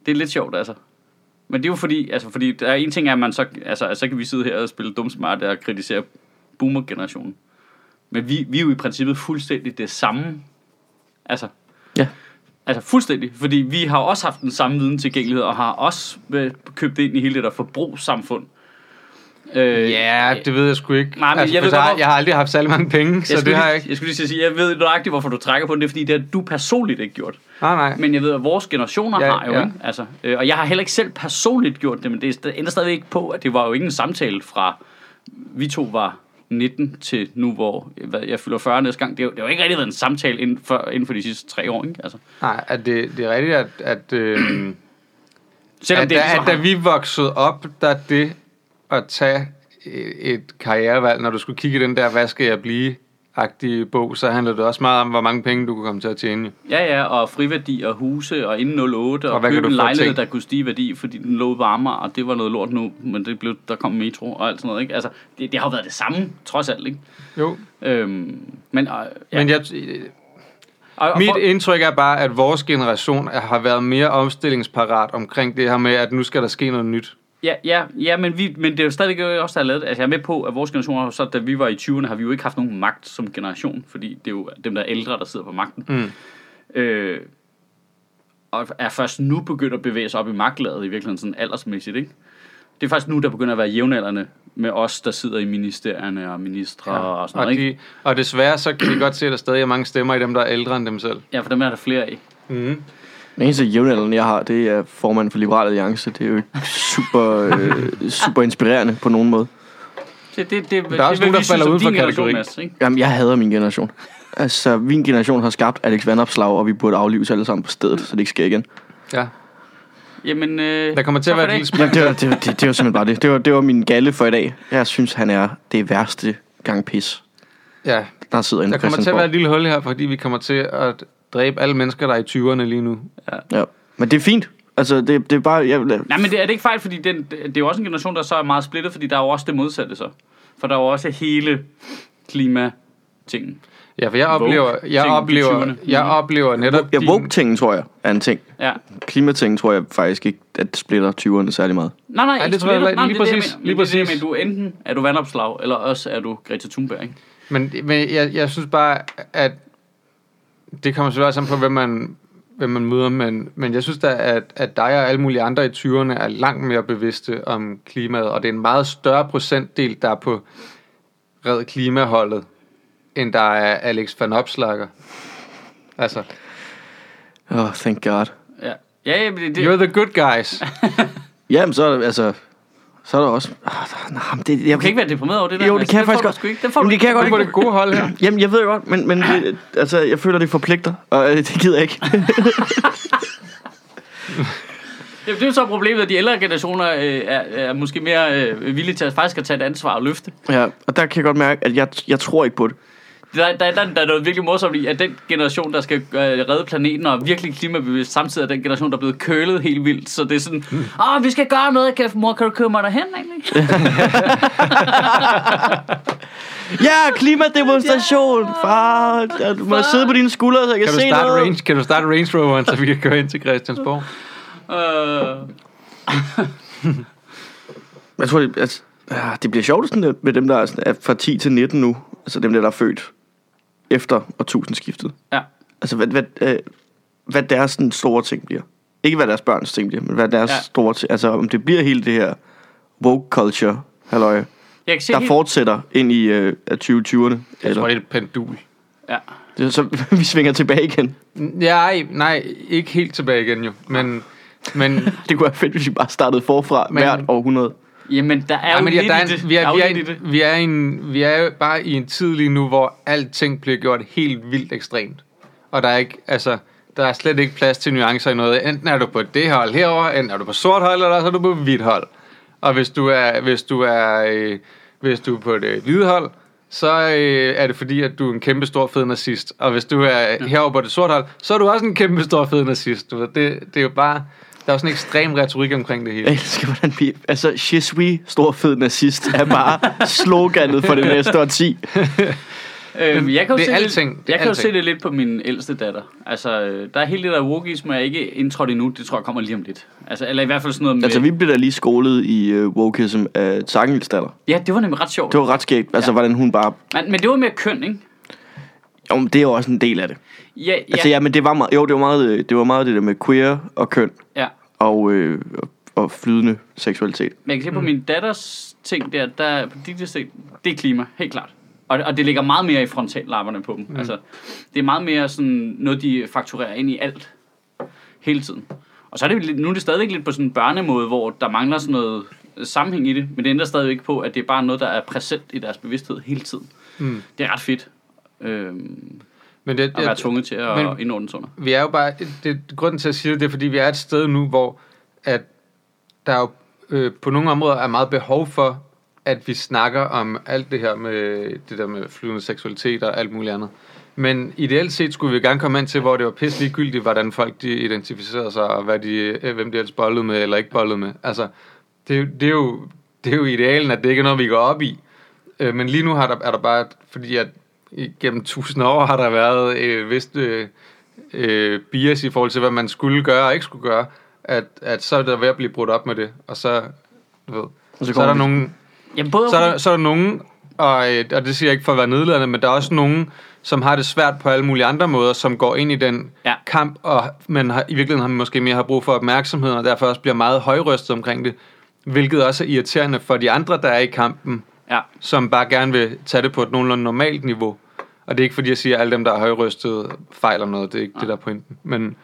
Speaker 2: Det er lidt sjovt, altså. Men det er jo fordi, altså fordi der er en ting, er, at man så, altså, at så kan vi sidde her og spille dumsmarte og kritisere boomer-generationen. Men vi, vi er jo i princippet fuldstændig det samme. Altså,
Speaker 1: Ja.
Speaker 2: Altså fuldstændig, fordi vi har også haft den samme viden tilgængelighed, og har også øh, købt ind i hele det der forbrugssamfund. Øh,
Speaker 3: Ja, det ved jeg sgu ikke. Altså,
Speaker 2: Nej, men jeg ved
Speaker 3: for så
Speaker 2: godt,
Speaker 3: har,
Speaker 2: hvor-
Speaker 3: jeg har aldrig haft særlig mange penge, så
Speaker 2: jeg
Speaker 3: det
Speaker 2: skulle
Speaker 3: har
Speaker 2: lige,
Speaker 3: jeg ikke.
Speaker 2: Jeg skulle lige til at sige, jeg ved nøjagtigt, hvorfor du trækker på den. Det er, fordi det har du personligt ikke gjort.
Speaker 3: Nej, nej.
Speaker 2: Men jeg ved, at vores generationer ja,
Speaker 3: Ja,
Speaker 2: har jo, ja.
Speaker 3: ja.
Speaker 2: ikke? Altså, øh, og jeg har heller ikke selv personligt gjort det, men det st- ændrer stadigvæk ikke på, at det var jo ikke en samtale fra vi to var 19 til nu, hvor hvad, jeg fylder 40 næste gang. Det har jo- det har jo ikke rigtig været en samtale inden for, inden for de sidste tre år, ikke? Altså,
Speaker 3: Nej, at det, det er rigtigt, at, at, øh,
Speaker 2: selvom
Speaker 3: at,
Speaker 2: det
Speaker 3: da,
Speaker 2: er ligesom,
Speaker 3: at da vi voksede op, der det at tage et et karrierevalg, når du skulle kigge i den der, hvad skal jeg blive, agtige bog, så handlede det også meget om, hvor mange penge du kunne komme til at tjene.
Speaker 2: Ja, ja, og friværdi og huse og inden 08 og,
Speaker 3: Og
Speaker 2: og
Speaker 3: hvad kan
Speaker 2: købe
Speaker 3: du
Speaker 2: en
Speaker 3: få
Speaker 2: lejlighed,
Speaker 3: ting?
Speaker 2: der kunne stige i værdi, fordi den lå varmere, og det var noget lort nu, men det blev, der kom metro og alt sådan noget, ikke? Altså, det, det har jo været det samme, trods alt, ikke?
Speaker 3: Jo,
Speaker 2: Øhm, men, øh,
Speaker 3: ja.
Speaker 2: ja,
Speaker 3: men jeg,
Speaker 2: og, og
Speaker 3: mit
Speaker 2: for,
Speaker 3: indtryk er bare, at vores generation er- har været mere omstillingsparat omkring det her med, at nu skal der ske noget nyt.
Speaker 2: ja, ja, ja, men, vi, men det er jo stadigvæk også, der har lavet det. Altså, jeg er med på, at vores generation, har jo så, da vi var i 20'erne, har vi jo ikke haft nogen magt som generation, fordi det er jo dem, der er ældre, der sidder på magten.
Speaker 3: Mm.
Speaker 2: Øh, og er først nu begyndt at bevæge sig op i magtlaget i virkeligheden sådan aldersmæssigt, ikke? Det er faktisk nu, der begynder at være jævnaldrende med os, der sidder i ministerierne og ministre ja, og sådan
Speaker 3: Og,
Speaker 2: noget, ikke?
Speaker 3: de, og desværre så kan vi godt se, at der stadig er mange stemmer i dem, der er ældre end dem selv.
Speaker 2: Ja, for dem er der flere af.
Speaker 3: Mm.
Speaker 1: Den eneste jævnaldrende, jeg har, det er formanden for Liberal Alliance. Det er jo ikke super, øh, super inspirerende på nogen måde.
Speaker 2: Det, det, det, der er det,
Speaker 3: også nogen, der falder uden for kategorien.
Speaker 2: ikke?
Speaker 1: Jamen, jeg hader min generation. Altså, min generation har skabt Alex Vandopslag, og vi burde aflives alle sammen på stedet, så det ikke sker igen.
Speaker 3: Ja.
Speaker 2: Jamen, øh,
Speaker 3: Der kommer til at
Speaker 2: tak
Speaker 3: være
Speaker 2: for
Speaker 3: et
Speaker 2: i dag.
Speaker 3: lille
Speaker 1: Jamen, det var, det, var, det, det var simpelthen bare det. Det var, det var min galle for i dag. Jeg synes, han er det værste gang pis,
Speaker 3: Ja,
Speaker 1: der sidder inde
Speaker 3: der
Speaker 1: på
Speaker 3: kommer til at være et
Speaker 1: Christiansborg.
Speaker 3: lille hul her, fordi vi kommer til at dræbe alle mennesker, der er i 20'erne lige nu.
Speaker 1: Ja. Men det er fint. Altså, det, det er bare... Jeg,
Speaker 2: Nej, men det, er det ikke fejl, fordi den, det det er jo også en generation, der så er meget splittet, fordi der er jo også det modsatte så. For der er jo også hele klimatingen.
Speaker 3: Ja, for jeg oplever, jeg
Speaker 2: ting i
Speaker 3: oplever,
Speaker 2: 20'erne.
Speaker 3: jeg oplever netop
Speaker 1: jeg
Speaker 3: din-
Speaker 1: woke-tingen, tror jeg, er en ting.
Speaker 2: Ja.
Speaker 1: Klimatingen tror jeg faktisk ikke, at splitter 20'erne særlig meget.
Speaker 2: Nej, nej,
Speaker 3: det
Speaker 2: ikke
Speaker 3: tror jeg
Speaker 2: splittet.
Speaker 3: heller ikke.
Speaker 2: Nej,
Speaker 3: Lige
Speaker 2: men det er
Speaker 3: præcis,
Speaker 2: Det,
Speaker 3: lige
Speaker 2: lige præcis. Det, er det,
Speaker 3: præcis.
Speaker 2: men du er enten er du vandopslag, eller også er du Greta Thunberg, ikke?
Speaker 3: Men, men jeg, jeg synes bare, at det kommer selvfølgelig også an på, hvem man, hvem man møder, men, men jeg synes da, at, at dig og alle mulige andre i 20'erne er langt mere bevidste om klimaet, og det er en meget større procentdel, der er på red klimaholdet, end der er Alex van Opslager. Altså,
Speaker 1: Oh, thank god.
Speaker 2: Ja, ja, ja men det, det,
Speaker 3: you're the good guys.
Speaker 1: Jamen, så er der, altså... Så er der også... Ah, nej, men det, jeg
Speaker 2: du kan ikke være deprimeret over det der.
Speaker 1: Jo, det
Speaker 2: Mads.
Speaker 1: kan jeg
Speaker 2: får
Speaker 1: faktisk
Speaker 2: du
Speaker 1: godt.
Speaker 2: Sgu ikke. Den får
Speaker 1: Jamen,
Speaker 2: du
Speaker 1: det kan jeg godt
Speaker 3: Du
Speaker 2: ikke.
Speaker 3: får det gode hold her.
Speaker 1: Jamen, jeg ved det godt, men, men det, altså, jeg føler, det forpligter, og øh, det gider jeg ikke.
Speaker 2: Jamen, det er jo så problemet, at de ældre generationer øh, er, er måske mere øh, villige til at faktisk at tage et ansvar og løfte.
Speaker 1: ja, og der kan jeg godt mærke, at jeg, jeg tror ikke på det.
Speaker 2: Der, der, der, der er noget virkelig morsomt i, at den generation, der skal øh, redde planeten og er virkelig klimabevidst, samtidig er den generation, der er blevet kølet helt vildt. Så det er sådan,
Speaker 3: Hmm.
Speaker 2: åh, vi skal gøre noget, kan, mor, kan du køre mig derhen egentlig?
Speaker 1: Ja, klimademonstration! Far, jeg- du må sidde på dine skuldre, så jeg kan,
Speaker 3: Kan du,
Speaker 1: se
Speaker 3: starte
Speaker 1: noget.
Speaker 3: range, kan du starte Range Roveren, så vi kan køre ind til Christiansborg?
Speaker 2: øh,
Speaker 1: Jeg tror, det, altså, ah, det bliver sjovt sådan, lidt med dem, der er, sådan, er fra 10 til 19 nu. Altså dem der, der er født efter årtusindskiftet.
Speaker 2: ja.
Speaker 1: Altså, hvad, hvad, øh, hvad deres sådan, store ting bliver. Ikke hvad deres børns ting bliver, men hvad deres
Speaker 2: Ja.
Speaker 1: ja. store ting... Altså, om det bliver hele det her woke culture, halløj,
Speaker 2: Jeg kan se
Speaker 1: der
Speaker 2: helt-
Speaker 1: fortsætter ind i øh, 2020'erne.
Speaker 3: Jeg tror,
Speaker 1: Eller,
Speaker 3: det er et pendul.
Speaker 2: Ja.
Speaker 1: det, så vi svinger tilbage igen.
Speaker 3: Nej, nej, ikke helt tilbage igen jo. Men, men
Speaker 1: Det kunne være fedt, hvis vi bare startede forfra men,
Speaker 3: Men-
Speaker 1: hvert århundrede.
Speaker 2: Jamen, der er
Speaker 3: Ja,
Speaker 2: jo
Speaker 3: men ja,
Speaker 2: lidt
Speaker 3: der er
Speaker 2: i det.
Speaker 3: en, vi,
Speaker 2: Der
Speaker 3: er,
Speaker 2: jo
Speaker 3: vi, er,
Speaker 2: lidt i det.
Speaker 3: en- vi, er en, vi er jo bare i en tid lige nu, hvor alting bliver gjort helt vildt ekstremt. Og der er, ikke, altså, der er slet ikke plads til nuancer i noget. Enten er du på det hold herover, enten er du på sort hold, eller så er du på hvidt hold. Og hvis du er, hvis du er, øh, hvis du er på det hvide hold, så øh, er det fordi, at du er en kæmpe stor fed nazist. Og hvis du er ja. herover på det sorte hold, så er du også en kæmpe stor fed nazist. Du ved, det, det er jo bare... Der er jo sådan en ekstrem retorik omkring det hele.
Speaker 1: Jeg elsker, hvordan vi... Altså, je suis, stor fed nazist, er bare sloganet for det næste årti.
Speaker 2: Øhm, jeg kan jo
Speaker 3: det er
Speaker 2: se
Speaker 3: alting.
Speaker 2: Lidt,
Speaker 3: Det er
Speaker 2: jeg kan jo
Speaker 3: alting.
Speaker 2: se det lidt på min ældste datter. Altså, øh, der er hele det der wokeisme, jeg ikke indtrådt endnu. Det tror jeg kommer lige om lidt. Altså, eller i hvert fald sådan noget med...
Speaker 1: Altså, vi blev da lige skolet i uh, wokeism af Sangelstaller.
Speaker 2: Ja, det var nemlig ret sjovt.
Speaker 1: Det var ret skægt, altså, ja. hvordan hun bare...
Speaker 2: Men, men det var mere køn, ikke?
Speaker 1: Jo, men det er jo også en del af det.
Speaker 2: Ja, ja,
Speaker 1: Altså, ja, men det var meget... Jo, det var meget, øh, det var meget det der med queer og køn
Speaker 2: ja.
Speaker 1: og, øh, og- og flydende seksualitet.
Speaker 2: Men jeg kan se på min datters ting der, der på dit ting, det er klima, helt klart. Og, og det ligger meget mere i frontallapperne på dem. Mm. Altså, det er meget mere sådan noget, de fakturerer ind i alt. Hele tiden. Og så er det jo lidt- nu er det stadigvæk lidt på sådan en børnemåde, hvor der mangler sådan noget sammenhæng i det, men det ændrer stadig ikke på, at det er bare noget, der er præsent i deres bevidsthed hele tiden.
Speaker 3: Mm.
Speaker 2: Det er ret fedt øhm,
Speaker 3: Men det,
Speaker 2: at være
Speaker 3: jeg,
Speaker 2: tvunget til at
Speaker 3: men-
Speaker 2: men, indordne sig under.
Speaker 3: vi er jo bare, det, grunden til at sige det, det er, fordi vi er et sted nu, hvor at der jo øh, på nogle områder er meget behov for, at vi snakker om alt det her med det der med flydende seksualitet og alt muligt andet. Men ideelt set skulle vi gerne komme ind til, hvor det var pisse ligegyldigt, hvordan folk de identificerede sig, og hvad de, øh, hvem de ellers bollede med eller ikke bollede med. Altså, det, er jo- det, er jo, det er jo idealen, at det ikke er noget, vi går op i. Øh, men lige nu har der, er der bare, fordi at gennem tusind år har der været øh, vist øh, øh, bias i forhold til, hvad man skulle gøre og ikke skulle gøre, at, at så er der ved at blive brudt op med det, og så, du ved,
Speaker 1: så
Speaker 3: så, så er
Speaker 1: kommer
Speaker 3: der
Speaker 1: vi-
Speaker 3: nogen,
Speaker 2: Jamen, både
Speaker 3: så er der, så er der nogen, og, øh, og det siger jeg ikke for at være nedladende, men der er også nogen, som har det svært på alle mulige andre måder, som går ind i den
Speaker 2: Ja.
Speaker 3: kamp, og man har, i virkeligheden har man måske mere har brug for opmærksomhed, og derfor også bliver meget højrøstet omkring det, hvilket også er irriterende for de andre, der er i kampen,
Speaker 2: ja.
Speaker 3: som bare gerne vil tage det på et nogenlunde normalt niveau. Og det er ikke fordi, jeg siger, at alle dem, der er højrystede, fejler noget. Det er ikke det, der er pointen. Men,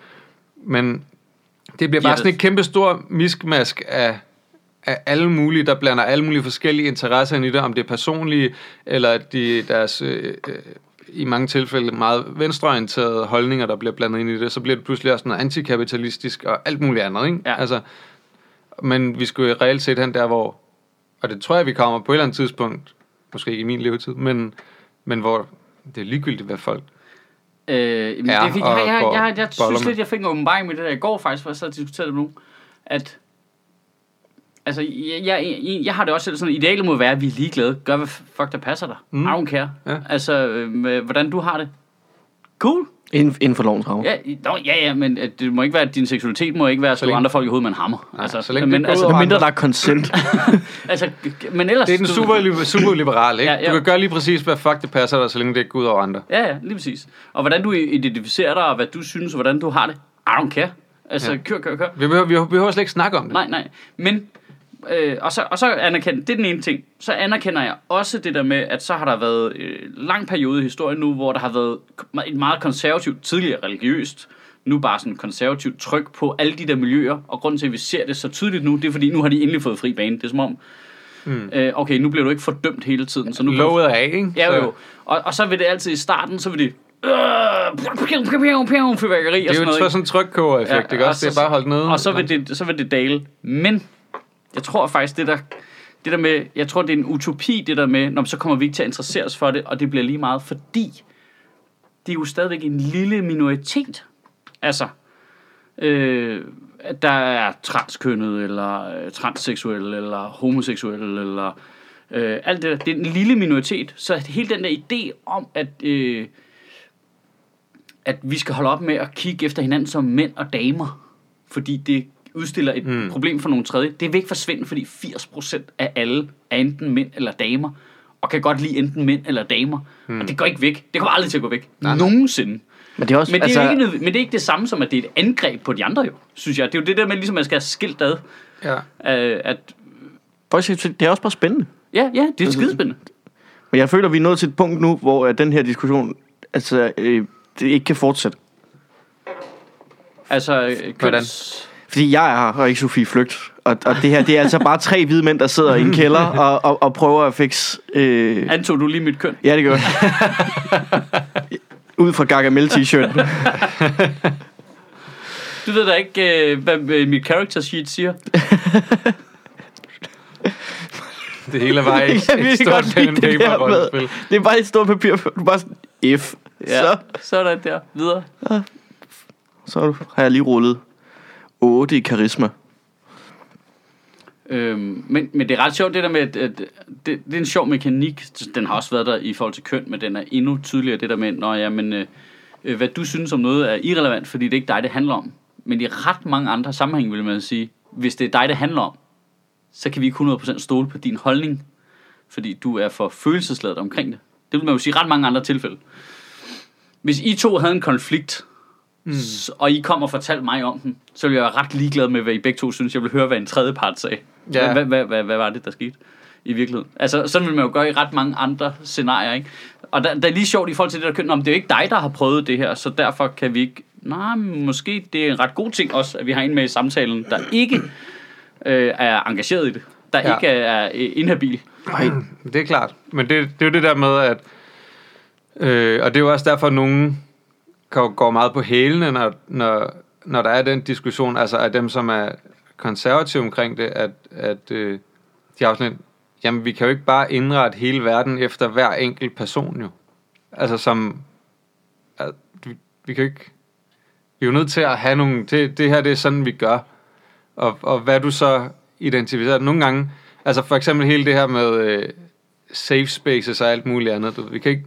Speaker 3: men det bliver bare
Speaker 2: Ja,
Speaker 3: sådan
Speaker 2: det-
Speaker 3: et kæmpe stor miskmask af, af alle mulige, der blander alle mulige forskellige interesser ind i det, om det er personlige, eller de, deres øh, øh, i mange tilfælde meget venstreorienterede holdninger, der bliver blandet ind i det, så bliver det pludselig også noget antikapitalistisk og alt muligt andet, ikke?
Speaker 2: Ja.
Speaker 3: Altså, men vi skulle jo reelt set hen der, hvor, og det tror jeg, vi kommer på et eller andet tidspunkt, måske ikke i min levetid, men, men hvor det er ligegyldigt, hvad folk...
Speaker 2: Øh, jamen,
Speaker 3: Ja,
Speaker 2: ja, det, jeg,
Speaker 3: og
Speaker 2: jeg, jeg,
Speaker 3: går-
Speaker 2: jeg, jeg
Speaker 3: boller
Speaker 2: synes
Speaker 3: med.
Speaker 2: lidt, jeg fik en åbenbaring med det der i går faktisk, hvor jeg sad og diskuterede det med nogen, at altså, jeg, jeg, jeg, jeg har det også selv sådan, idealet må være, at vi er ligeglade. Gør, hvad fuck der passer dig. Mm. I don't care.
Speaker 3: Ja.
Speaker 2: Altså, øh, med, hvordan du har det. Cool.
Speaker 1: Inden, inden for lovens rammer.
Speaker 2: Ja, i- nå, ja, ja, men at det må ikke være, din seksualitet må ikke være at slå
Speaker 3: længe-
Speaker 2: andre folk i hovedet med en hammer.
Speaker 3: Nej,
Speaker 2: altså,
Speaker 3: så længe det
Speaker 2: men,
Speaker 3: ikke går
Speaker 2: altså,
Speaker 3: ud
Speaker 1: Men
Speaker 3: over
Speaker 1: mindre
Speaker 3: andre.
Speaker 1: der er consent.
Speaker 2: altså, g- men ellers...
Speaker 3: Det er den
Speaker 2: du-
Speaker 3: super, superliberale, ikke?
Speaker 2: Ja, ja.
Speaker 3: Du kan gøre lige præcis, hvad fuck det passer dig, så længe det ikke går ud over andre.
Speaker 2: Ja, ja, lige præcis. Og hvordan du identificerer dig, og hvad du synes, og hvordan du har det. I don't care. Altså,
Speaker 3: Ja.
Speaker 2: ja. kør, kør, kør.
Speaker 3: Vi behøver, vi behøver slet ikke snakke om det.
Speaker 2: Nej, nej. Men, øh, og, så, og så anerkender, det er den ene ting, så anerkender jeg også det der med, at så har der været øh, lang periode i historien nu, hvor der har været k- et meget konservativt, tidligere religiøst, nu bare sådan konservativt tryk på alle de der miljøer, og grunden til, at vi ser det så tydeligt nu, det er fordi, nu har de endelig fået fri bane. Det er som om, mm. øh, okay, nu bliver du ikke fordømt hele tiden, så nu kan du
Speaker 3: Hmm. Lovet af, ikke?
Speaker 2: Ja,
Speaker 3: Så-
Speaker 2: jo. Og, og så vil det altid i starten, så vil det... Øh, fyrværkeri og
Speaker 3: Det er
Speaker 2: sådan
Speaker 3: jo
Speaker 2: noget.
Speaker 3: et- sådan en trykkoger-effekt, ja, ikke også? det er bare holdt nede.
Speaker 2: Og så vil, det, så vil det dale. Men jeg tror faktisk, det der, det der med, jeg tror, det er en utopi, det der med, når så kommer vi ikke til at interessere os for det, og det bliver lige meget, fordi det er jo stadigvæk en lille minoritet. Altså, øh, at der er transkønnet, eller øh, transseksuel, eller homoseksuel, eller øh, alt det der. Det er en lille minoritet. Så hele den der idé om, at... Øh, at vi skal holde op med at kigge efter hinanden som mænd og damer, fordi det udstiller et mm. problem for nogle tredje. Det vil ikke forsvinde, fordi 80% af alle er enten mænd eller damer, og kan godt lide enten mænd eller damer. Mm. Og det går ikke væk. Det kommer aldrig til at gå væk. Nej, Nogensinde.
Speaker 1: Men det er også...
Speaker 2: Men det,
Speaker 1: altså,
Speaker 2: er jo ikke, nødv- men det er ikke det samme som, at det er et angreb på de andre, jo, synes jeg. Det er jo det der med, ligesom, at man skal have skilt ad.
Speaker 3: Ja.
Speaker 2: Øh, at,
Speaker 1: faktisk, det er også bare spændende.
Speaker 2: ja, ja, det er skidespændende.
Speaker 1: Men jeg føler, vi er nået til et punkt nu, hvor at den her diskussion altså, øh, det ikke kan fortsætte.
Speaker 2: Altså, øh, køns...
Speaker 3: Hvordan?
Speaker 1: Fordi jeg er her, og ikke Sofie Flygt. Og, og det her, det er altså bare tre hvide mænd, der sidder i en kælder og, og, og prøver at fikse... Øh,
Speaker 2: Antog du lige mit køn?
Speaker 1: ja, det gør jeg. Ud fra Gargamel t-shirten.
Speaker 2: Du ved da ikke, øh, hvad øh, mit character sheet siger.
Speaker 3: Det hele var
Speaker 1: Jeg
Speaker 3: et,
Speaker 1: kan
Speaker 3: et
Speaker 1: virkelig
Speaker 3: stort
Speaker 1: godt
Speaker 3: pen
Speaker 1: lide
Speaker 3: and
Speaker 1: det der
Speaker 3: paper
Speaker 1: med.
Speaker 3: rollespil.
Speaker 1: Det er bare et stort papir, hvor du bare sådan, F.
Speaker 2: Ja,
Speaker 1: Så,
Speaker 2: så er der der. Videre.
Speaker 1: så har jeg lige rullet 8 i karisma.
Speaker 2: Øhm, men, men det er ret sjovt det der med, at, at det, det er en sjov mekanik. Den har også været der i forhold til køn, men den er endnu tydeligere det der med, når ja, men, øh, øh, hvad du synes om noget er irrelevant, fordi det er ikke dig, det handler om. Men i ret mange andre sammenhænge vil man sige, hvis det er dig, det handler om, så kan vi ikke 100% stole på din holdning, fordi du er for følelsesladet omkring det. Det vil man jo sige i ret mange andre tilfælde. Hvis I to havde en konflikt, mm. og I kom og fortalte mig om den, så ville jeg være ret ligeglad med, hvad I begge to synes. Jeg ville høre, hvad en tredje part sagde.
Speaker 3: Ja.
Speaker 2: Ja. Hvad, hvad, hvad, hvad var det, der skete i virkeligheden? Altså, sådan vil man jo gøre i ret mange andre scenarier, ikke? Og der, der er lige sjovt i forhold til det der køn, om det er jo ikke dig, der har prøvet det her, så derfor kan vi ikke... Nej, men måske det er en ret god ting også, at vi har en med i samtalen, der ikke øh, er engageret i det. der
Speaker 3: Ja.
Speaker 2: ja. ikke er øh, inhabil.
Speaker 3: Det er klart. Men det, det er jo det der med, at... Øh, og det er jo også derfor, at nogen går, går meget på hælene, når, når, når der er den diskussion, altså af dem, som er konservative omkring det, at, at øh, de har sådan en, jamen vi kan jo ikke bare indrette hele verden efter hver enkelt person jo. Altså som, at, vi, vi kan jo ikke, vi er jo nødt til at have nogle, det, det her det er sådan, vi gør. Og, og hvad du så identificerer. Nogle gange, altså for eksempel hele det her med øh, safe spaces og alt muligt andet. Du, ved, vi kan ikke...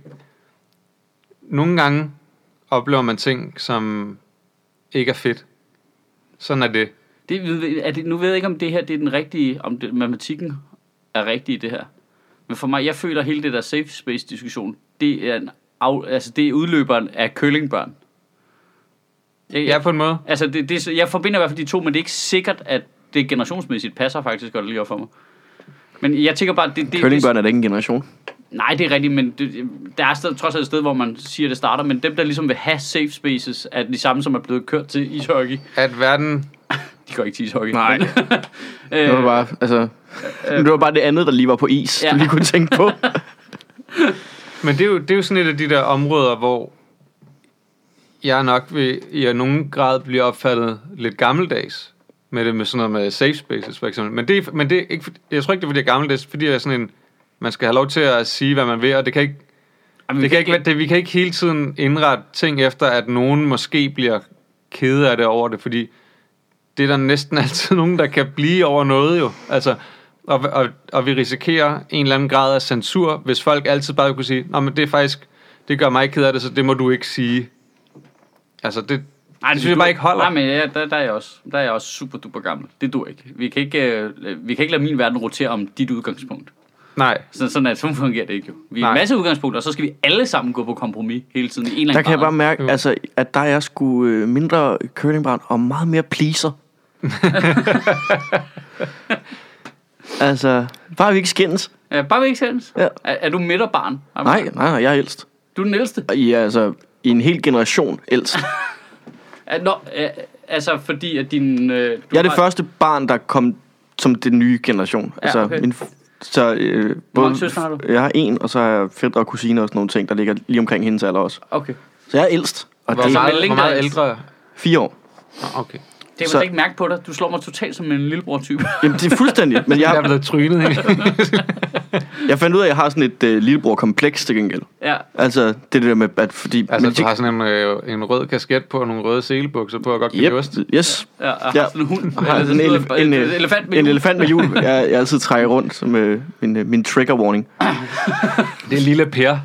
Speaker 3: Nogle gange oplever man ting, som ikke er fedt. Sådan er det.
Speaker 2: Det, ved- er det, nu ved jeg ikke, om det her det er den rigtige, om det, matematikken er rigtig i det her. Men for mig, jeg føler hele det der safe space diskussion, det er, en af, altså, det er udløberen af kølingbørn. Jeg,
Speaker 3: Ja, på en måde.
Speaker 2: Altså, det, det, er så- jeg forbinder i hvert fald de to, men det er ikke sikkert, at det generationsmæssigt passer faktisk godt lige op for mig. Men jeg tænker bare, det, det, det,
Speaker 1: Kølingbørn er da ikke en generation.
Speaker 2: Nej, det er rigtigt, men det, der er stadig, trods alt et sted, hvor man siger, at det starter. Men dem, der ligesom vil have safe spaces, er de samme, som er blevet kørt til ishockey.
Speaker 3: At verden...
Speaker 2: De går ikke til ishockey.
Speaker 1: Nej.
Speaker 2: øh,
Speaker 1: Det var bare, altså, det var bare det andet, der lige var på is,
Speaker 2: Ja.
Speaker 1: ja. du lige kunne tænke på.
Speaker 3: Men det er, jo, det er jo sådan et af de der områder, hvor jeg nok vil i nogen grad blive opfattet lidt gammeldags med det med sådan noget med safe spaces for eksempel. Men det, er- men det er ikke, fordi- jeg tror ikke, det er fordi jeg er gammeldags, fordi jeg er sådan en, man skal have lov til at sige, hvad man vil, og det kan ikke,
Speaker 2: Jamen,
Speaker 3: Det kan ikke, være- det, vi kan ikke hele tiden indrette ting efter, at nogen måske bliver kede af det over det, fordi det er der næsten altid nogen, der kan blive over noget jo. Altså, og, og, og vi risikerer en eller anden grad af censur, hvis folk altid bare kunne sige, Nå, men det er faktisk, det gør mig ked af det, så det må du ikke sige. Altså, det,
Speaker 2: Nej,
Speaker 3: det synes jeg bare ikke holder.
Speaker 2: Nej, men ja, der, der, er jeg også, der er jeg også super duper gammel. Det dur ikke. Vi kan ikke, øh, vi kan ikke lade min verden rotere om dit udgangspunkt.
Speaker 3: Nej,
Speaker 2: Sådan, sådan, er, sådan fungerer det ikke jo. Vi har
Speaker 3: Nej.
Speaker 2: en masse udgangspunkter, og så skal vi alle sammen gå på kompromis hele tiden. I en eller anden
Speaker 1: Der kan jeg
Speaker 2: grad.
Speaker 1: bare mærke, altså, at der er jeg sgu øh, mindre curlingbrand og meget mere pleaser. altså, bare vi ikke skændes.
Speaker 2: Øh, bare vi ikke selv.
Speaker 1: Ja.
Speaker 2: Er, er, du midterbarn?
Speaker 1: Nej, nej, nej, jeg er ældst.
Speaker 2: Du er den ældste?
Speaker 1: Og I er altså i en hel generation ældst.
Speaker 2: Er, nå, er, altså fordi, at din... Øh, du
Speaker 1: Jeg er det
Speaker 2: har-
Speaker 1: første barn, der kom som den nye generation. Ja, altså,
Speaker 2: okay.
Speaker 1: min f- så øh,
Speaker 2: mange søstre har du?
Speaker 1: jeg har en, og så har jeg fætter og kusiner og sådan nogle ting, der ligger lige omkring hendes alder også.
Speaker 2: Okay.
Speaker 1: Så jeg er ældst, og
Speaker 3: hvor
Speaker 1: det er
Speaker 3: meget,
Speaker 2: melding,
Speaker 3: hvor
Speaker 2: der er-
Speaker 3: meget ældre...
Speaker 1: fire år.
Speaker 3: Nå, Okay.
Speaker 2: Det kan man
Speaker 1: Så-
Speaker 2: slet ikke mærke på dig. Du slår mig totalt som en lillebror-type.
Speaker 1: Jamen, det er fuldstændig. Men
Speaker 3: Jeg er
Speaker 1: jeg,
Speaker 3: blevet trynet. ikke?
Speaker 1: jeg fandt ud af, at jeg har sådan et øh, lillebror-kompleks til gengæld.
Speaker 2: ja.
Speaker 1: Altså, det der med, at fordi...
Speaker 3: altså,
Speaker 1: men de-
Speaker 3: du har sådan en, øh, en rød kasket på og nogle røde selebukser på, og godt kan yep. ost.
Speaker 1: Yep, yes.
Speaker 2: Ja, og har
Speaker 1: Ja.
Speaker 2: sådan en hund.
Speaker 1: Og har
Speaker 2: Eller
Speaker 1: sådan en,
Speaker 2: sådan
Speaker 1: elef-
Speaker 2: noget-
Speaker 1: en,
Speaker 2: et- et
Speaker 1: øh,
Speaker 2: elefant med
Speaker 1: en
Speaker 2: hjul.
Speaker 1: elefant med hjul, jeg, jeg altid trækker rundt som øh, min, øh, min trigger warning.
Speaker 3: Det er lille Per.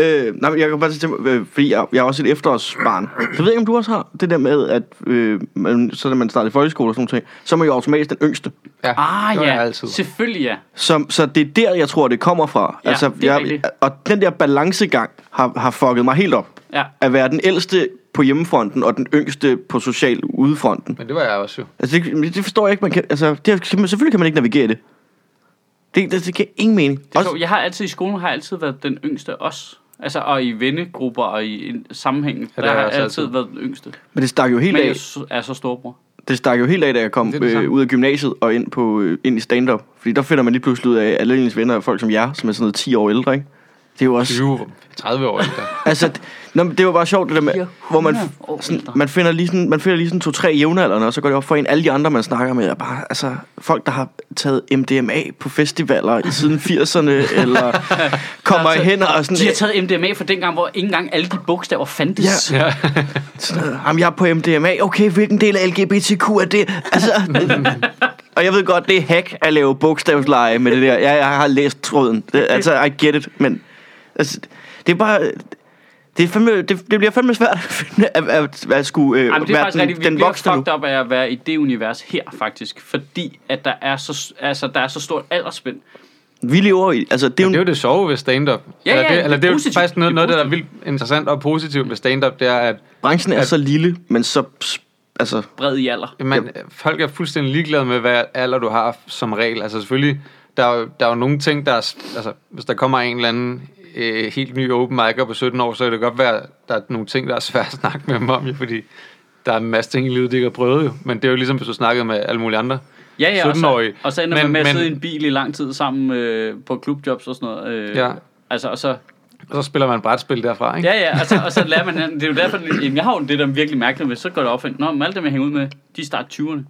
Speaker 1: Øh, nej, men jeg kan bare sige til mig, øh, fordi jeg, jeg er også et efterårsbarn. Jeg ved ikke, om du også har det der med, at øh, man, så når man starter i folkeskole og sådan noget, så er man jo automatisk den yngste.
Speaker 3: Ja,
Speaker 2: Ah
Speaker 3: det var jeg
Speaker 2: ja,
Speaker 3: altid.
Speaker 2: selvfølgelig ja.
Speaker 1: Så, så det er der, jeg tror, det kommer fra. Altså,
Speaker 2: Ja, det er rigtigt.
Speaker 1: jeg, og den der balancegang har, har fucket mig helt op.
Speaker 2: ja.
Speaker 1: At være den ældste på hjemmefronten og den yngste på social udefronten.
Speaker 3: Men det var jeg også jo.
Speaker 1: Altså, det, det forstår jeg ikke. Man kan, altså, det, er- selvfølgelig kan man ikke navigere i det. Det, det, det giver ingen mening.
Speaker 2: Det er
Speaker 1: Også,
Speaker 2: sjovt. Jeg har altid i skolen har jeg altid været den yngste også. Altså, og i vennegrupper og i en sammenhæng,
Speaker 3: Ja,
Speaker 2: ja,
Speaker 3: det
Speaker 2: der
Speaker 3: har
Speaker 2: har
Speaker 3: jeg
Speaker 2: jeg
Speaker 3: også
Speaker 2: altid,
Speaker 3: altid.
Speaker 2: været den yngste.
Speaker 1: men det stak jo helt
Speaker 2: Men
Speaker 1: af.
Speaker 2: jeg s- er så storbror.
Speaker 1: Det stak jo helt af, da jeg kom
Speaker 3: Det er det samme.
Speaker 1: øh, ud af gymnasiet og ind, på, øh, ind i stand-up. Fordi der finder man lige pludselig ud af, at alle ens venner er folk som jer, som er sådan noget 10 år ældre, ikke? Det er jo også...
Speaker 3: 20, 30 år ældre.
Speaker 1: Altså, d- nå, men det var bare sjovt, det der med, hvor man,
Speaker 2: 400 år
Speaker 1: sådan,
Speaker 2: ældre.
Speaker 1: man, finder lige sådan, man finder lige sådan to-tre jævnaldrende, og så går det op for en. Alle de andre, man snakker med, er bare altså, folk, der har taget MDMA på festivaler i siden 80'erne, eller kommer
Speaker 2: taget-
Speaker 1: hen og sådan...
Speaker 2: Altså, De har taget MDMA fra dengang, hvor ikke engang alle de bogstaver fandtes.
Speaker 1: Ja. Sådan, øh, Jamen, jeg er på MDMA. Okay, hvilken del af LGBTQ er det? Altså, og jeg ved godt, det er hack at lave bogstavsleje med det der. Jeg, jeg har læst tråden. Det, altså, I get it, men... Altså, det er bare... Det, er fandme, det, det bliver fandme svært at, finde- at, at, at skulle øh,
Speaker 2: Ej, men det er
Speaker 1: være
Speaker 2: faktisk
Speaker 1: den,
Speaker 2: rigtigt. Vi
Speaker 1: den
Speaker 2: bliver
Speaker 1: voksne nu.
Speaker 2: fucked op af at være i det univers her, faktisk. Fordi at der er så, altså, der er så stort aldersspænd.
Speaker 1: Vi lever i... Altså, det er jo,
Speaker 3: Det er jo
Speaker 1: en-
Speaker 3: det sjove ved stand-up.
Speaker 2: ja,
Speaker 3: eller det,
Speaker 2: det er
Speaker 3: eller det er jo
Speaker 2: positivt.
Speaker 3: faktisk noget,
Speaker 2: Det er
Speaker 3: noget af det, der er vildt interessant og positivt ved stand-up, det er, at
Speaker 1: branchen er så lille, men så... Altså,
Speaker 2: Bred i alder.
Speaker 3: man, folk er fuldstændig ligeglade med, hvad alder du har som regel. Altså selvfølgelig, der er jo, der er jo nogle ting, der er... s- Altså, hvis der kommer en eller anden øh, helt ny open mic'er på 17 år, så kan det godt være, at der er nogle ting, der er svært at snakke med dem om, jo, fordi der er en masse ting i livet, de ikke har prøvet jo. Men det er jo ligesom, hvis du snakkede med alle mulige andre.
Speaker 2: Ja, ja, og så,
Speaker 3: 17-årig.
Speaker 2: og så ender man
Speaker 3: Men-
Speaker 2: med at
Speaker 3: men-
Speaker 2: sidde i en bil i lang tid sammen øh, på klubjobs og sådan noget. Øh,
Speaker 3: Ja.
Speaker 2: Altså, og så,
Speaker 3: Og så spiller man brætspil derfra, ikke?
Speaker 2: ja, ja, og så, og så lærer man hinanden. Det er jo derfor, jamen, jeg har jo det, der er virkelig mærkeligt med, så går det op for en, Nå, men alle dem, jeg hænger ud med, de starter 20'erne.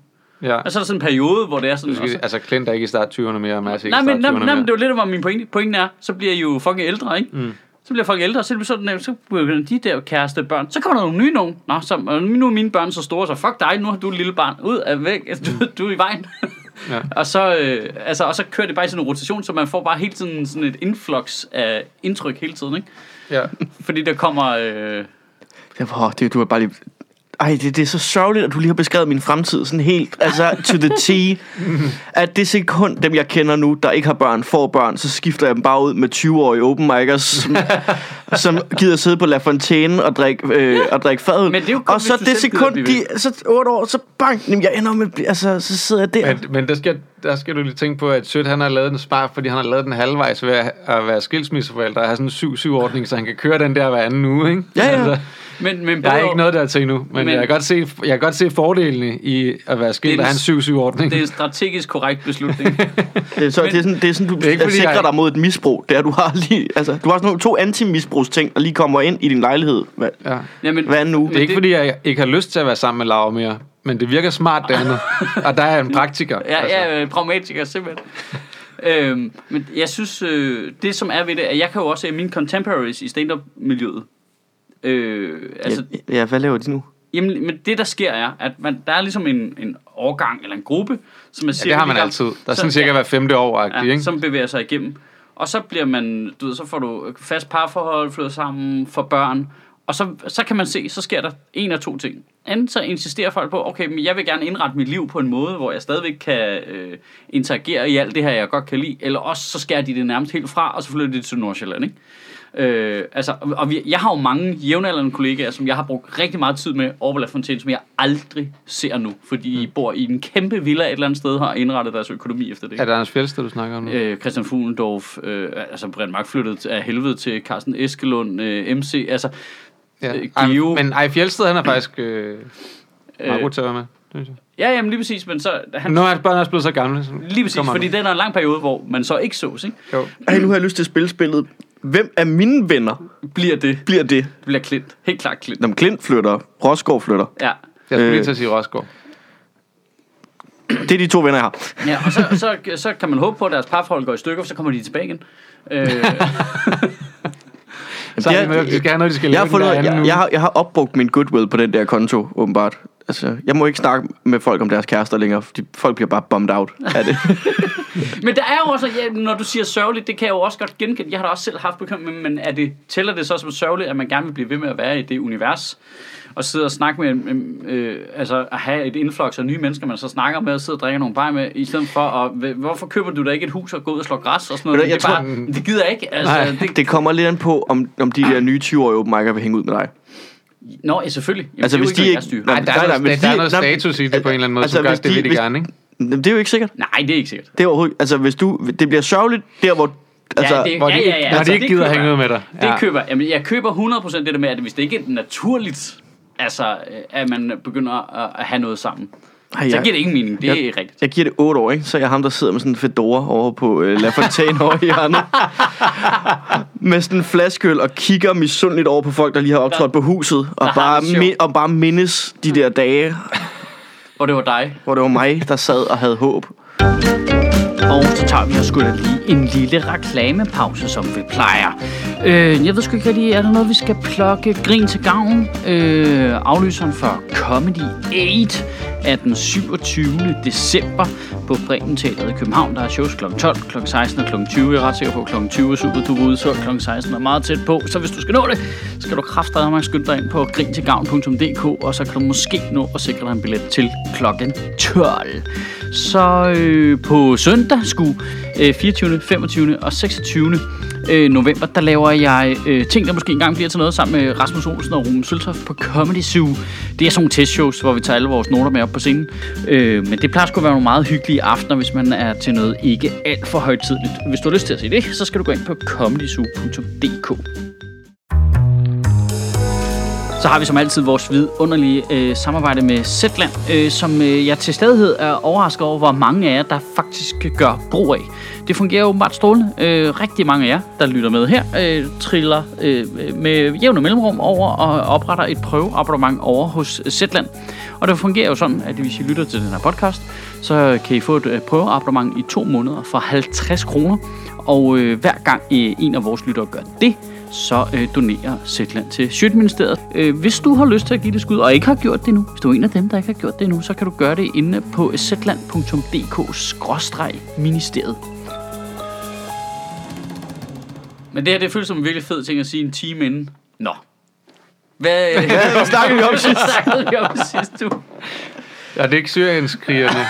Speaker 3: ja.
Speaker 2: Og så er der sådan en periode, hvor det er sådan...
Speaker 3: Du skal,
Speaker 2: og så-
Speaker 3: altså, Klint er ikke i start 20'erne mere, og Mads er ikke
Speaker 2: Nej,
Speaker 3: i
Speaker 2: men,
Speaker 3: start
Speaker 2: nej,
Speaker 3: 20'erne
Speaker 2: men, nej,
Speaker 3: mere.
Speaker 2: men det er jo lidt, hvor min pointe, pointen er. Så bliver I jo fucking ældre, ikke? Mm. Så bliver folk ældre, og så, er det sådan, at så begynder de der kæreste børn. Så kommer der nogle nye nogen. Nå, så, og nu er mine børn så store, så fuck dig, nu har du et lille barn. Ud af væk, Altså, du, du er i vejen. Ja.
Speaker 3: Ja.
Speaker 2: og, så, øh, altså, og så kører det bare i sådan en rotation, så man får bare hele tiden sådan et influx af indtryk hele tiden, ikke?
Speaker 3: Ja.
Speaker 2: Fordi der kommer... Øh,
Speaker 1: Det, oh, det, du er bare lige... Ej, det, det er så sørgeligt, at du lige har beskrevet min fremtid sådan helt, altså to the T. At det sekund, dem jeg kender nu, der ikke har børn, får børn, så skifter jeg dem bare ud med 20-årige open micers, som, som gider sidde på La Fontaine og drikke, øh, og drikke fadøl.
Speaker 2: Men det er jo kun,
Speaker 1: og så
Speaker 2: hvis du
Speaker 1: det
Speaker 2: selv gider
Speaker 1: sekund,
Speaker 2: blive
Speaker 1: de, så 8 år, så bang, jamen, jeg ender med, at blive- altså, så sidder jeg der.
Speaker 3: Men, men der, skal, der skal du lige tænke på, at Sødt han har lavet den spar, fordi han har lavet den halvvejs ved at, at være skilsmisseforældre og have sådan en 7-7-ordning, så han kan køre den der hver anden uge, ikke?
Speaker 1: Ja, ja.
Speaker 2: men, men
Speaker 3: jeg er
Speaker 2: både-
Speaker 3: ikke noget der til endnu, men,
Speaker 2: Men-
Speaker 3: men jeg, kan godt se, jeg kan godt se fordelene i at være
Speaker 2: Det
Speaker 3: skilt
Speaker 2: er
Speaker 3: og
Speaker 2: en-
Speaker 3: have en 7-7-ordning.
Speaker 2: Det er en strategisk korrekt beslutning.
Speaker 1: Det er, Øh, så,
Speaker 2: Men-
Speaker 1: det, er sådan, det er sådan, du
Speaker 3: Det er ikke, fordi
Speaker 1: sikrer
Speaker 3: jeg-
Speaker 1: dig mod et misbrug. Det er, du har lige, altså, du har sådan nogle to antimisbrugsting, der lige kommer ind i din lejlighed. Hvad,
Speaker 3: ja.
Speaker 2: Jamen,
Speaker 1: hvad nu?
Speaker 3: det er ikke,
Speaker 2: det-
Speaker 3: fordi jeg ikke har lyst til at være sammen med Laura mere, men det virker smart det andet. og der er jeg en praktiker. altså.
Speaker 2: Ja, ja, øh, pragmatiker simpelthen. øhm, men jeg synes, øh, det som er ved det, at jeg kan jo også se mine contemporaries i stand-up-miljøet. Øh, altså,
Speaker 1: Altså, ja, ja, hvad laver de nu?
Speaker 2: jamen, men det der sker er, at man, der er ligesom en, en årgang eller en gruppe, som er
Speaker 3: Ja, det har man altid. Der er sådan cirka hver femte år, ja,
Speaker 2: ja,
Speaker 3: ikke?
Speaker 2: som bevæger sig igennem. Og så bliver man, du ved, så får du fast parforhold, flytter sammen, får børn. Og så, så kan man se, så sker der en af to ting. Enten så insisterer folk på, okay, men jeg vil gerne indrette mit liv på en måde, hvor jeg stadigvæk kan øh, interagere i alt det her, jeg godt kan lide. Eller også så skærer de det nærmest helt fra, og så flytter de til Nordsjælland, ikke? Øh, altså, og vi, jeg har jo mange jævnaldrende kollegaer, som jeg har brugt rigtig meget tid med over på La Fontaine, som jeg aldrig ser nu, fordi mm. I bor i en kæmpe villa et eller andet sted og har indrettet deres økonomi efter det.
Speaker 3: Er det Anders Fjelsted, du snakker om nu?
Speaker 2: Øh, Christian Fuglendorf, øh, altså Brian Mark flyttede af helvede til Carsten Eskelund, øh, MC, altså
Speaker 3: Ja.
Speaker 2: øh,
Speaker 3: Ej,
Speaker 2: Geo.
Speaker 3: men Ej Fjelsted, han er faktisk øh, meget
Speaker 2: Øh.
Speaker 3: god til at være med, synes jeg.
Speaker 2: ja, jamen lige præcis, men så, han,
Speaker 3: Nu er hans børn også blevet så gamle. så
Speaker 2: lige præcis,
Speaker 3: kommer
Speaker 2: fordi
Speaker 3: han
Speaker 2: den er en lang periode, hvor man så ikke sås, ikke?
Speaker 3: med. Jo.
Speaker 1: Ej, nu har jeg lyst til at spille spillet. Hvem af mine venner
Speaker 2: Bliver det,
Speaker 1: bliver det?
Speaker 2: bliver klint, helt klart klint,
Speaker 1: Når Klint flytter, Rosgaard flytter.
Speaker 2: ja.
Speaker 3: Jeg skulle
Speaker 1: Øh.
Speaker 3: lige til at sige Rosgaard.
Speaker 1: Det er de to venner, jeg har.
Speaker 2: ja og så, så, så kan man håbe på, at deres parforhold går i stykker, for så kommer de tilbage igen. Øh,
Speaker 3: Så
Speaker 1: det
Speaker 3: er
Speaker 1: er-
Speaker 3: de med, de skal have noget, de skal
Speaker 1: Jeg har,
Speaker 3: lave den
Speaker 1: fundet,
Speaker 3: der
Speaker 1: ud af-
Speaker 3: anden
Speaker 1: jeg,
Speaker 3: uge.
Speaker 1: jeg, har, jeg har opbrugt min goodwill på den der konto, åbenbart. Altså, jeg må ikke snakke med folk om deres kærester længere, fordi folk bliver bare bummed out af det.
Speaker 2: men der er jo også, ja, når du siger sørgeligt, det kan jeg jo også godt genkende. Jeg har da også selv haft bekymring, men er det, tæller det så som sørgeligt, at man gerne vil blive ved med at være i det univers? Og sidde og snakke med, øh, øh, altså at have et influx af nye mennesker, man så snakker med og sidde og drikker nogle bajer med, i stedet for, at, "Hva- hvorfor køber du da ikke et hus og går ud og slår græs og sådan
Speaker 1: Ved
Speaker 2: noget?
Speaker 1: du,
Speaker 2: det, er
Speaker 1: jeg
Speaker 2: bare, det gider jeg ikke. Altså,
Speaker 3: Nej.
Speaker 2: det,
Speaker 1: Det kommer lidt an på, om, om de der nye 20-årige open mic'er vil hænge ud med dig.
Speaker 2: nå, ja, selvfølgelig. Jamen,
Speaker 1: Altså,
Speaker 2: det er
Speaker 1: hvis
Speaker 2: jo
Speaker 1: de
Speaker 2: noget, jeg
Speaker 1: ikke-
Speaker 2: styrer.
Speaker 1: Nå,
Speaker 3: Ej, der,
Speaker 1: Nej,
Speaker 3: er
Speaker 1: nej,
Speaker 3: noget,
Speaker 1: men
Speaker 3: der, der er
Speaker 1: de-
Speaker 3: noget
Speaker 1: nej,
Speaker 3: status i det på en eller anden måde,
Speaker 1: altså,
Speaker 3: altså, som gør,
Speaker 1: hvis
Speaker 3: at det
Speaker 1: de-
Speaker 3: vil de
Speaker 1: hvis-
Speaker 3: gerne, ikke?
Speaker 1: Men Det er jo ikke sikkert.
Speaker 2: Nej, det er ikke sikkert.
Speaker 1: Det, er overhovedet, altså, hvis du, det bliver sørgeligt der, hvor... Altså,
Speaker 2: det-
Speaker 3: Hvor de,
Speaker 2: Ja,
Speaker 3: ja,
Speaker 2: ja, ja,
Speaker 3: Når
Speaker 2: altså,
Speaker 3: de ikke
Speaker 2: det
Speaker 3: gider
Speaker 2: køber
Speaker 3: hænge
Speaker 2: jeg.
Speaker 3: ud med dig.
Speaker 2: Det køber jamen, jeg. køber 100% det der med, at hvis det ikke er naturligt, altså, øh, at man begynder at, at have noget sammen,
Speaker 1: Ej,
Speaker 2: så
Speaker 1: jeg-
Speaker 2: giver det ingen mening. Det er
Speaker 1: jeg-
Speaker 2: rigtigt.
Speaker 1: Jeg giver det 8 år, ikke? Så er jeg ham, der sidder med sådan en fedora over på øh, La Fontaine over i hjørnet. med sådan en flaskøl og kigger misundeligt over på folk, der lige har optrådt på huset. Og,
Speaker 2: har
Speaker 1: bare,
Speaker 2: det sjovt.
Speaker 1: mi- og bare mindes de der dage,
Speaker 2: Og det var dig.
Speaker 1: hvor det var mig, der sad og havde håb.
Speaker 2: Og så tager vi og sgu da lige en lille reklamepause, som vi plejer. Øh, jeg ved sgu ikke rigtig, er der noget, vi skal plukke grin til gavn? Øh, aflyseren for Comedy 8 er den 27. december på Bremen Teateret i København. Der er shows kl. 12, kl. 16 og kl. 20. Jeg er ret sikker på, at kl. 20 er super du udsolgt. Kl. 16 er meget tæt på. Så hvis du skal nå det, skal du kraftedeme mig skynde dig ind på grintilgavn.dk, og så kan du måske nå at sikre dig en billet til kl. 12. Så øh, på søndag skulle øh, 24., 25. og 26. Øh, november, der laver jeg øh, ting, der måske engang bliver til noget sammen med Rasmus Olsen og Ruben Søltoft på Comedy Zoo. Det er sådan nogle testshows, hvor vi tager alle vores noter med op på scenen. Øh, men det plejer sgu at være nogle meget hyggelige aftener, hvis man er til noget ikke alt for højtidligt. Hvis du har lyst til at se det, så skal du gå ind på comedyzoo.dk. Så har vi som altid vores vidunderlige øh, samarbejde med Zetland, øh, som øh, jeg til stadighed er overrasket over, hvor mange af jer, der faktisk gør brug af. Det fungerer åbenbart strålende. Øh, rigtig mange af jer, der lytter med her, øh, triller øh, med jævne mellemrum over og opretter et prøveabonnement over hos Zetland. Og det fungerer jo sådan, at hvis I lytter til den her podcast, så kan I få et øh, prøveabonnement i to måneder for 50 kroner. Og øh, hver gang øh, en af vores lyttere gør det, så øh, donerer Zetland til Sjøtministeriet. Øh, hvis du har lyst til at give det skud, og ikke har gjort det nu, hvis du er en af dem, der ikke har gjort det endnu, så kan du gøre det inde på zetland.dk-ministeriet. Men det her, det føles som en virkelig fed ting at sige en time inden. Nå. Hvad, øh,
Speaker 1: Hvad snakkede vi om sidst?
Speaker 2: snakkede vi om sidst, du?
Speaker 3: Er det ikke syrienskrigerne?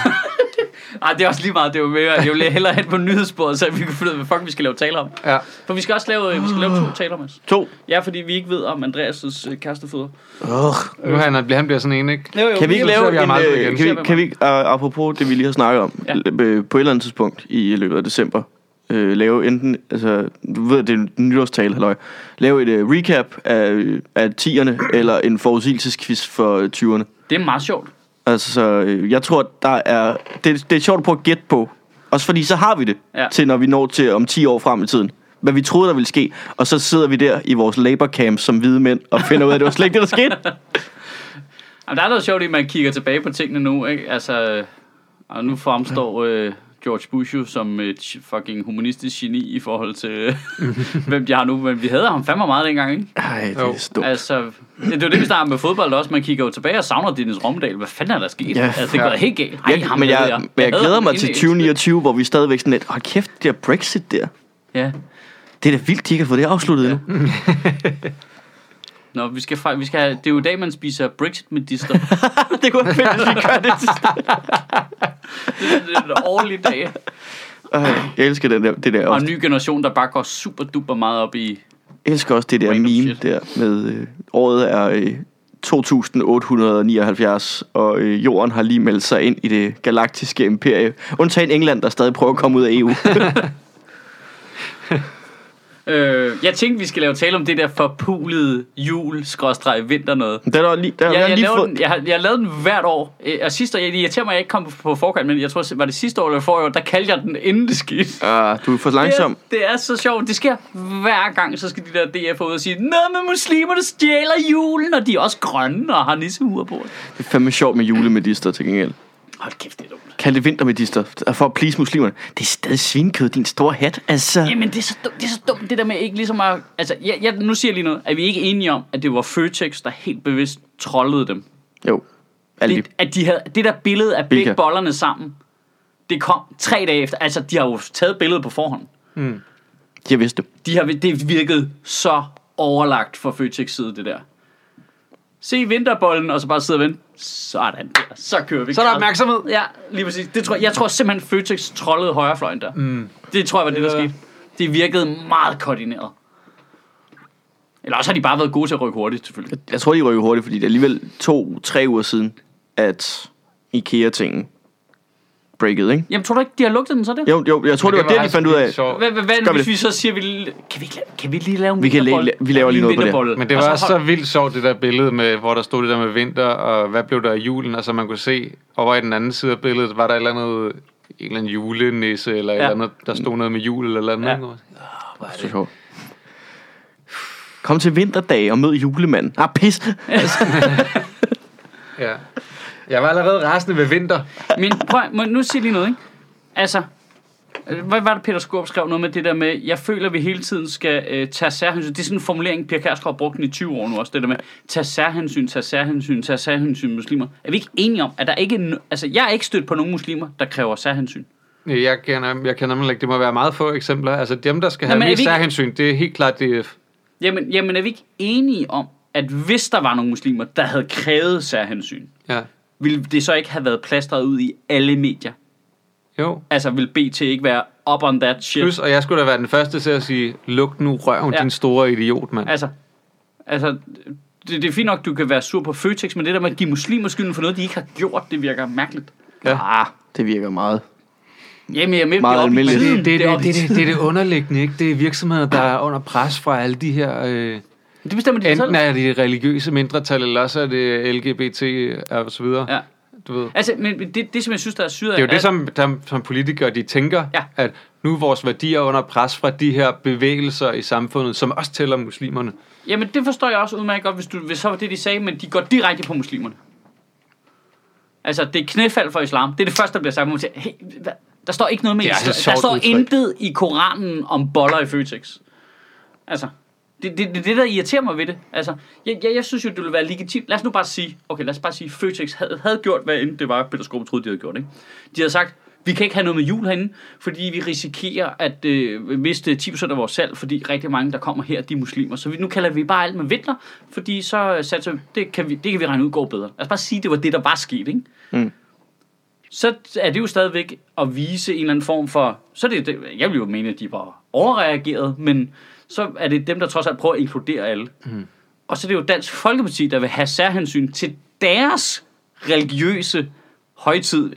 Speaker 2: Ej, det er også lige meget, det var mere. Jeg vil hellere hen på nyhedsbordet, så vi kan finde ud af, hvad fuck vi skal lave taler om.
Speaker 3: Ja.
Speaker 2: For vi skal også lave, øh, vi skal lave to taler, Mads.
Speaker 1: To.
Speaker 2: Ja, fordi vi ikke ved om Anders' øh, kærestefødder.
Speaker 1: Oh,
Speaker 3: Nu han, er- han bliver sådan en, ikke?
Speaker 2: Jo, jo,
Speaker 1: kan vi ikke
Speaker 3: ser
Speaker 1: lave
Speaker 3: vi ham
Speaker 1: en,
Speaker 3: aldrig
Speaker 1: øh,
Speaker 3: igen.
Speaker 1: kan vi,
Speaker 2: Ser vi
Speaker 1: kan vi ikke, øh, apropos det vi lige har snakket om,
Speaker 2: Ja.
Speaker 1: l- øh, på et eller andet tidspunkt i løbet af december, øh, lave enten, altså, du ved, det er en nytårstale, halløj, lave et øh, recap af, øh, af 10'erne, eller en forudsigelsesquiz for øh, 20'erne.
Speaker 2: Det er meget sjovt.
Speaker 1: Altså, så øh, jeg tror, der er, det, det er sjovt at prøve at gætte på, også fordi så har vi det,
Speaker 2: Ja.
Speaker 1: til når vi når til om 10 år frem i tiden hvad vi troede, der ville ske. Og så sidder vi der i vores labor camp som hvide mænd og finder ud af, at det var slet ikke det, der skete.
Speaker 2: Jamen, der er noget sjovt i, at man kigger tilbage på tingene nu, ikke? Altså, øh, og nu fremstår øh, George Bush jo som et sh- fucking humanistisk geni i forhold til, øh, hvem de har nu. Men vi havde ham fandme meget dengang, ikke?
Speaker 1: Nej, det
Speaker 3: Jo.
Speaker 1: er stort.
Speaker 2: Altså, ja, det er jo det, vi snakker med fodbold også. Man kigger jo tilbage og savner Dennis Romdal. Hvad fanden er der sket?
Speaker 1: Ja.
Speaker 2: altså, det går
Speaker 3: Ja.
Speaker 2: helt galt. Ej,
Speaker 1: Jeg,
Speaker 2: ham
Speaker 1: men
Speaker 2: havde
Speaker 1: jeg, men jeg
Speaker 2: havde
Speaker 1: glæder
Speaker 2: ham
Speaker 1: mig
Speaker 2: inde
Speaker 1: til
Speaker 2: i-
Speaker 1: 2029, hvor vi er stadigvæk sådan lidt, hold kæft, det der Brexit der.
Speaker 2: Ja.
Speaker 1: Det er da vildt, de ikke har fået det afsluttet ja. endnu.
Speaker 2: Nå, vi skal, fra- vi skal, have- det er jo i dag, man spiser Brexit-medister.
Speaker 1: det kunne være fedt, hvis vi gør det til
Speaker 2: det er en årlig dag.
Speaker 1: øh, Jeg elsker den der, det der.
Speaker 2: Og en
Speaker 1: Også.
Speaker 2: ny generation, der bare går super duper meget op i...
Speaker 1: Jeg elsker også det der
Speaker 2: Random
Speaker 1: meme
Speaker 2: shit.
Speaker 1: der med, øh, året er øh, 2879, og øh, jorden har lige meldt sig ind i det galaktiske imperie. Undtagen England, der stadig prøver at komme ud af E EU.
Speaker 2: Øh, jeg tænkte, vi skal lave tale om det der forpulede jul vinter noget.
Speaker 1: der er der lige, der har
Speaker 2: Jeg,
Speaker 1: jeg
Speaker 2: jeg,
Speaker 1: lige
Speaker 2: laver
Speaker 1: fået...
Speaker 2: den, jeg, har- jeg lavede den hvert år, øh, og sidste år, jeg, det irriterer mig, at jeg ikke kom på, på forkant, men jeg tror, var det sidste år eller forrige år, der kaldte jeg den inden det skete.
Speaker 1: Ah, du er for
Speaker 2: Det er,
Speaker 1: langsom.
Speaker 2: det er så sjovt. Det sker hver gang, så skal de der DF'er ud og sige, Nå, men muslimerne stjæler julen, og de er også grønne og har nissehuer på.
Speaker 1: Det er fandme sjovt med julemedister til gengæld.
Speaker 2: Hold kæft, det er dumt.
Speaker 1: Kald det vintermedister, og for at please muslimerne. Det er stadig svinekød, din store hat. Altså...
Speaker 2: Jamen, det er, så dumt, det er så dumt, det der med ikke ligesom at... Altså, jeg, jeg, nu siger jeg lige noget. Er vi ikke enige om, at det var Føtex, der helt bevidst trollede dem?
Speaker 1: Jo. Alle de.
Speaker 2: det, at de havde, det der billede af
Speaker 1: Bilka.
Speaker 2: begge bollerne sammen, det kom tre dage efter. Altså, de har jo taget billedet på forhånd.
Speaker 1: Jeg vidste det.
Speaker 2: De har, det virkede så overlagt fra Føtex side, det der. Se vinterbollen, og så bare sidde og vente. Sådan der. Så kører vi.
Speaker 3: Så er der opmærksomhed.
Speaker 2: Ja, lige præcis. Det tror, jeg- jeg tror simpelthen, Føtex trollede højrefløjen der. Mm. Det tror jeg var det, der
Speaker 3: Ja.
Speaker 2: skete. Det virkede meget koordineret. Eller også har de bare været gode til at rykke hurtigt, selvfølgelig.
Speaker 1: Jeg tror, de rykker hurtigt, fordi det er alligevel to-tre uger siden, at IKEA-tingen breakede, ikke?
Speaker 2: Jamen, tror du ikke, de har lugtet den så der?
Speaker 1: Jo, jo, jeg tror, det, det var der, de fandt ud af.
Speaker 2: Hvad, hvad, hvad
Speaker 1: Gør vi
Speaker 2: hvis
Speaker 1: det.
Speaker 2: vi så siger, vi, l- kan, vi ikke, la- kan vi lige lave en
Speaker 1: Vi kan la-
Speaker 2: vinterbolle?
Speaker 1: vi laver lige
Speaker 2: En
Speaker 1: noget på det.
Speaker 2: vinterbolle.
Speaker 3: Men det
Speaker 2: Og
Speaker 3: var så,
Speaker 2: Altså, hold-
Speaker 3: så vildt sjovt, det der billede, med, hvor der stod det der med vinter, og hvad blev der af julen, og så man kunne se, og hvor i den anden side af billedet, var der et eller andet, en eller anden julenisse, eller ja. et
Speaker 2: Ja.
Speaker 3: eller andet, der stod noget med jul, eller noget.
Speaker 2: Ja.
Speaker 3: andet.
Speaker 1: Så sjovt. Kom til vinterdag og mød julemanden. Ah, pis!
Speaker 3: Ja. Jeg var allerede rasende ved vinter.
Speaker 2: Men prøv, må jeg nu sige lige noget, ikke? Altså, øh, hvad var det, Peter Skorp skrev noget med det der med, jeg føler, at vi hele tiden skal øh, tage særhensyn. Det er sådan en formulering, Pia Kærsgaard har brugt den i 20 år nu også, det der med, tage særhensyn, tage særhensyn, tage særhensyn muslimer. Er vi ikke enige om, at der ikke, er no- altså jeg er ikke stødt på nogen muslimer, der kræver særhensyn?
Speaker 3: Nej, Jeg kender, jeg kender nemlig ikke, det må være meget få eksempler. Altså dem, der skal
Speaker 2: Nå,
Speaker 3: have
Speaker 2: men er
Speaker 3: mest
Speaker 2: vi ikke-
Speaker 3: særhensyn, det er helt klart DF.
Speaker 2: Jamen, jamen er vi ikke enige om, at hvis der var nogle muslimer, der havde krævet særhensyn,
Speaker 3: Ja.
Speaker 2: ville det så ikke have været plastret ud i alle medier?
Speaker 3: Jo.
Speaker 2: Altså, vil BT ikke være up on that shit?
Speaker 3: Plus, og jeg skulle da være den første til at sige, luk nu røven,
Speaker 2: Ja.
Speaker 3: ja. din store idiot, mand.
Speaker 2: Altså, altså det, det er fint nok, du kan være sur på Føtex, men det der med at give muslimer skylden for noget, de ikke har gjort, det virker mærkeligt.
Speaker 3: Ja.
Speaker 1: Ah, det virker meget.
Speaker 2: Jamen, jeg er med,
Speaker 1: Meget
Speaker 2: det er op i
Speaker 1: almindeligt.
Speaker 2: tiden.
Speaker 3: Det, det, det,
Speaker 2: op i
Speaker 3: det, det,
Speaker 2: tiden.
Speaker 3: det er det underliggende, ikke? Det er virksomheder, der er under pres fra alle de her... Øh,
Speaker 2: Det bestemmer de selv.
Speaker 3: Enten er det religiøse mindretal, eller også er det LGBT og så videre.
Speaker 2: Ja.
Speaker 3: Du ved.
Speaker 2: Altså, men det, det, som jeg synes, der er syret
Speaker 3: Det er jo
Speaker 2: at-
Speaker 3: det, som, der, som politikere de tænker,
Speaker 2: Ja.
Speaker 3: at nu er vores værdier under pres fra de her bevægelser i samfundet, som også tæller muslimerne.
Speaker 2: Jamen, det forstår jeg også udmærket godt, hvis, du, hvis så var det, de sagde, men de går direkte på muslimerne. Altså, det er knæfald for islam. Det er det første, der bliver sagt. Man siger, hey, hvad? der står ikke noget med
Speaker 3: Det er
Speaker 2: islam.
Speaker 3: altså et sjovt
Speaker 2: Der står
Speaker 3: udtryk.
Speaker 2: intet i Koranen om boller i Føtex. Altså, det, det, det, er det, der irriterer mig ved det. Altså, jeg, jeg, jeg synes jo, det ville være legitimt. Lad os nu bare sige, okay, lad os bare sige, Føtex havde, havde gjort, hvad end det var, Peter Skrup troede, de havde gjort, ikke? De havde sagt, vi kan ikke have noget med jul herinde, fordi vi risikerer at øh, miste 10% af vores salg, fordi rigtig mange, der kommer her, de er muslimer. Så vi, nu kalder vi bare alt med vintler, fordi så øh, satser vi, det kan vi, det kan vi regne ud går bedre. Lad os bare sige, det var det, der var sket, ikke? så er det jo stadigvæk at vise en eller anden form for... Så er det, det, jeg vil jo mene, at de var overreageret, men så er det dem, der trods alt prøver at inkludere alle. Mm. Og så er det jo Dansk Folkeparti, der vil have særhensyn til deres religiøse højtid,